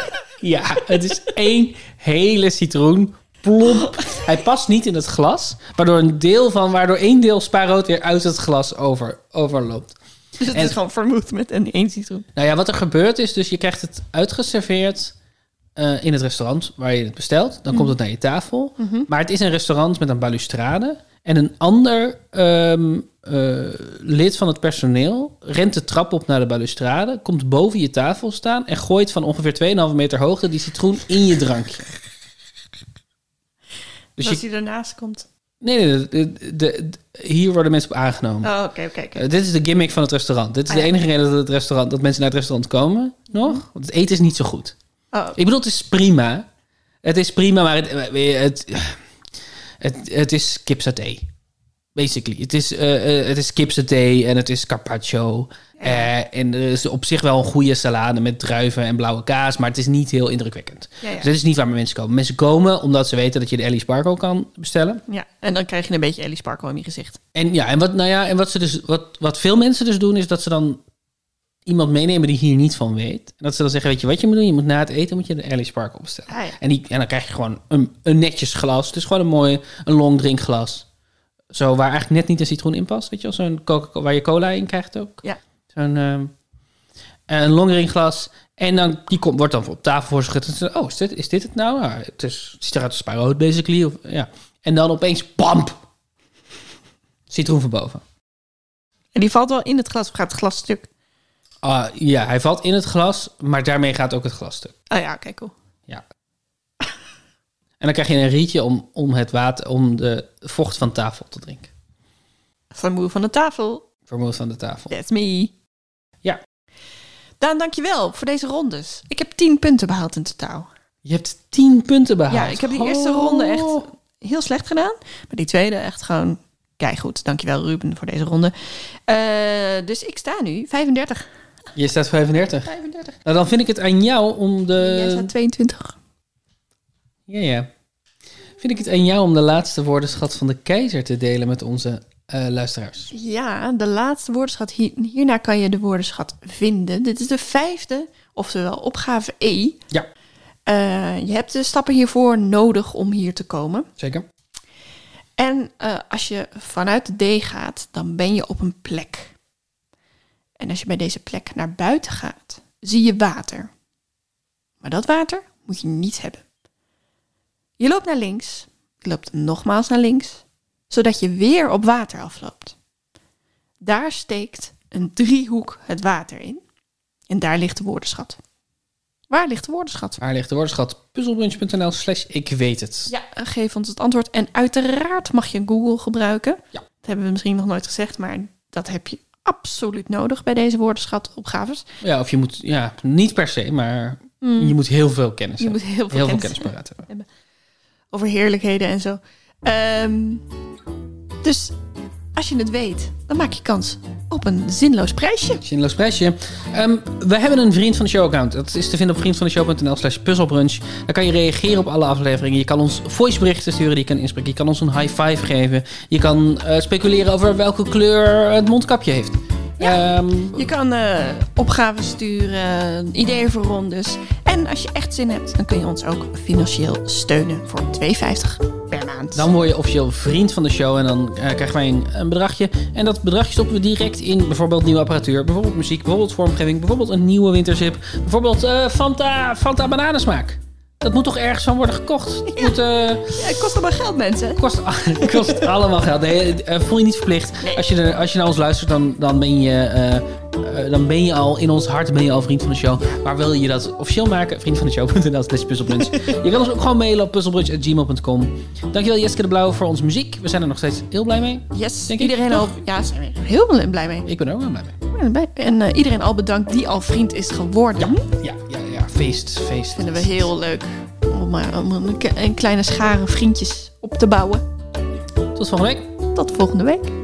S1: [LAUGHS] ja, het is één hele citroen. Plomp. Hij past niet in het glas, waardoor een deel van, waardoor één deel spaarrood weer uit het glas over, overloopt.
S2: Dus het
S1: En-
S2: is gewoon vermoed met een één citroen.
S1: Nou ja, wat er gebeurt is, dus je krijgt het uitgeserveerd eh, in het restaurant waar je het bestelt. Dan komt het naar je tafel. Maar het is een restaurant met een balustrade. En een ander ehm, eh, lid van het personeel rent de trap op naar de balustrade, komt boven je tafel staan en gooit van ongeveer 2,5 meter hoogte die citroen in je drankje. Dus
S2: Als
S1: je,
S2: hij ernaast komt.
S1: nee, nee, de- de- de- hier worden mensen op aangenomen.
S2: Oh, oké, oké. oké.
S1: Eh, dit is de gimmick van het restaurant. Dit is
S2: Ah,
S1: de
S2: ja. Mhm.
S1: enige reden dat, het restaurant, dat mensen naar het restaurant komen nog. Want het eten is niet zo goed.
S2: Oh,
S1: Ik bedoel, het is prima. eh, Het is prima, maar het, het, het, het is kipsaté. Basically. Het is, eh eh, het is kipse thee en het is carpaccio. Eh, en er is op zich wel een goede salade met druiven en blauwe kaas. Maar het is niet heel indrukwekkend.
S2: Ja, ja.
S1: Dus dat is niet waar mensen komen. Mensen komen omdat ze weten dat je de Ellie Sparkle kan bestellen.
S2: Ja, en dan krijg je een beetje Ellie Sparkle in je gezicht.
S1: En ja, en wat, nou ja, en wat, ze dus, wat, wat veel mensen dus doen, is dat ze dan iemand meenemen die hier niet van weet. En dat ze dan zeggen, weet je wat je moet doen? Je moet na het eten moet je de Ellie Sparkle bestellen.
S2: Ah, ja.
S1: en, die, en dan krijg je gewoon een, een netjes glas. Het is gewoon een mooi, een long drink glas. Zo, waar eigenlijk net niet een citroen in past, weet je wel? Zo'n coca waar je cola in krijgt ook.
S2: Ja.
S1: Zo'n ehm, een long drink glas. En dan, die komt, wordt dan op tafel voor ze gezet. En ze, Oh, is dit, is dit het nou? Ja, het, is, het ziet eruit als spaarrood, basically. Of, ja. En dan opeens, pamp! Citroen van boven.
S2: En die valt wel in het glas of gaat het glas stuk?
S1: Ah, ja, hij valt in het glas, maar daarmee gaat ook het glas stuk.
S2: Oh ja, oké, cool.
S1: Ja. En dan krijg je een rietje om, om het water, om de vocht van tafel te drinken.
S2: Vermoe van de tafel.
S1: Vermoed van de tafel.
S2: That's me.
S1: Ja.
S2: Daan, dankjewel voor deze rondes. Ik heb tien punten behaald in totaal.
S1: Je hebt tien punten behaald.
S2: Ja, ik heb die eerste ronde echt
S1: Ah, Oh.
S2: heel slecht gedaan. Maar die tweede echt gewoon keigoed. Dankjewel Ruben voor deze ronde. Eh, dus ik sta nu 35.
S1: Je staat 35.
S2: 35.
S1: Nou, dan vind ik het aan jou om
S2: Jij
S1: de...
S2: staat 22.
S1: Ja, ja. Vind ik het aan jou om de laatste woordenschat van de keizer te delen met onze eh, luisteraars.
S2: Ja, de laatste woordenschat. Hier, hierna kan je de woordenschat vinden. Dit is de vijfde, oftewel opgave E.
S1: Ja,
S2: Eh, je hebt de stappen hiervoor nodig om hier te komen.
S1: zeker.
S2: En eh, als je vanuit de D gaat, dan ben je op een plek. En als je bij deze plek naar buiten gaat, zie je water. Maar dat water moet je niet hebben. Je loopt naar links, je loopt nogmaals naar links, zodat je weer op water afloopt. Daar steekt een driehoek het water in. En daar ligt de woordenschat. Waar ligt de woordenschat?
S1: Waar ligt de woordenschat? Puzzelbrunch.nl slash ik weet het.
S2: Ja, geef ons het antwoord. En uiteraard mag je Google gebruiken.
S1: Ja.
S2: Dat hebben we misschien nog nooit gezegd, maar dat heb je absoluut nodig bij deze woordenschatopgaves.
S1: Ja, of je moet, ja, niet per se, maar je moet heel veel kennis
S2: Mm. Je
S1: hebben.
S2: moet heel veel
S1: heel veel
S2: kennis
S1: kennis paraat hebben.
S2: over heerlijkheden en zo. Ehm, dus als je het weet, dan maak je kans op een zinloos prijsje.
S1: Zinloos prijsje. Ehm, we hebben een vriend van de show account. Dat is te vinden op vriendvandeshow.nl slash puzzelbrunch. Daar kan je reageren op alle afleveringen. Je kan ons voiceberichten sturen die je kan inspreken. Je kan ons een high five geven. Je kan eh, speculeren over welke kleur het mondkapje heeft.
S2: Ja.
S1: Ehm,
S2: Je kan eh, opgaven sturen, ideeën voor rondes. En als je echt zin hebt, dan kun je ons ook financieel steunen voor 2,50 per maand.
S1: dan word je officieel vriend van de show en dan eh, krijgen wij een, een bedragje. En dat bedragje stoppen we direct in bijvoorbeeld nieuwe apparatuur, bijvoorbeeld muziek, bijvoorbeeld vormgeving, bijvoorbeeld een nieuwe winterzip, bijvoorbeeld eh, Fanta, Fanta bananensmaak. Dat moet toch ergens van worden gekocht? Het moet, eh,
S2: Ja, het kost allemaal geld, mensen.
S1: kost, [LAUGHS] het kost allemaal geld. Nee, eh, voel je niet verplicht. Als je, er- als je naar ons luistert, dan, dan, ben je, eh, eh, dan ben je al in ons hart ben je al vriend van de show. Maar wil je dat officieel maken? Vriend van de show.nl slash puzzelbrunch. je kan ons ook gewoon mailen op puzzelbrunch.gmail.com. Dankjewel Jeske de Blauw voor onze muziek. We zijn er nog steeds heel blij mee.
S2: Yes,
S1: Denk ik,
S2: iedereen al. Ja, zijn we heel bl- blij mee.
S1: Ik ben er ook wel blij mee.
S2: Ik ben blij. En eh, iedereen al bedankt die al vriend is geworden.
S1: Ja, ja, ja. Feest, feest.
S2: Vinden we heel leuk om, eh, om een, ke- een kleine schare vriendjes op te bouwen.
S1: Tot volgende week.
S2: Tot volgende week.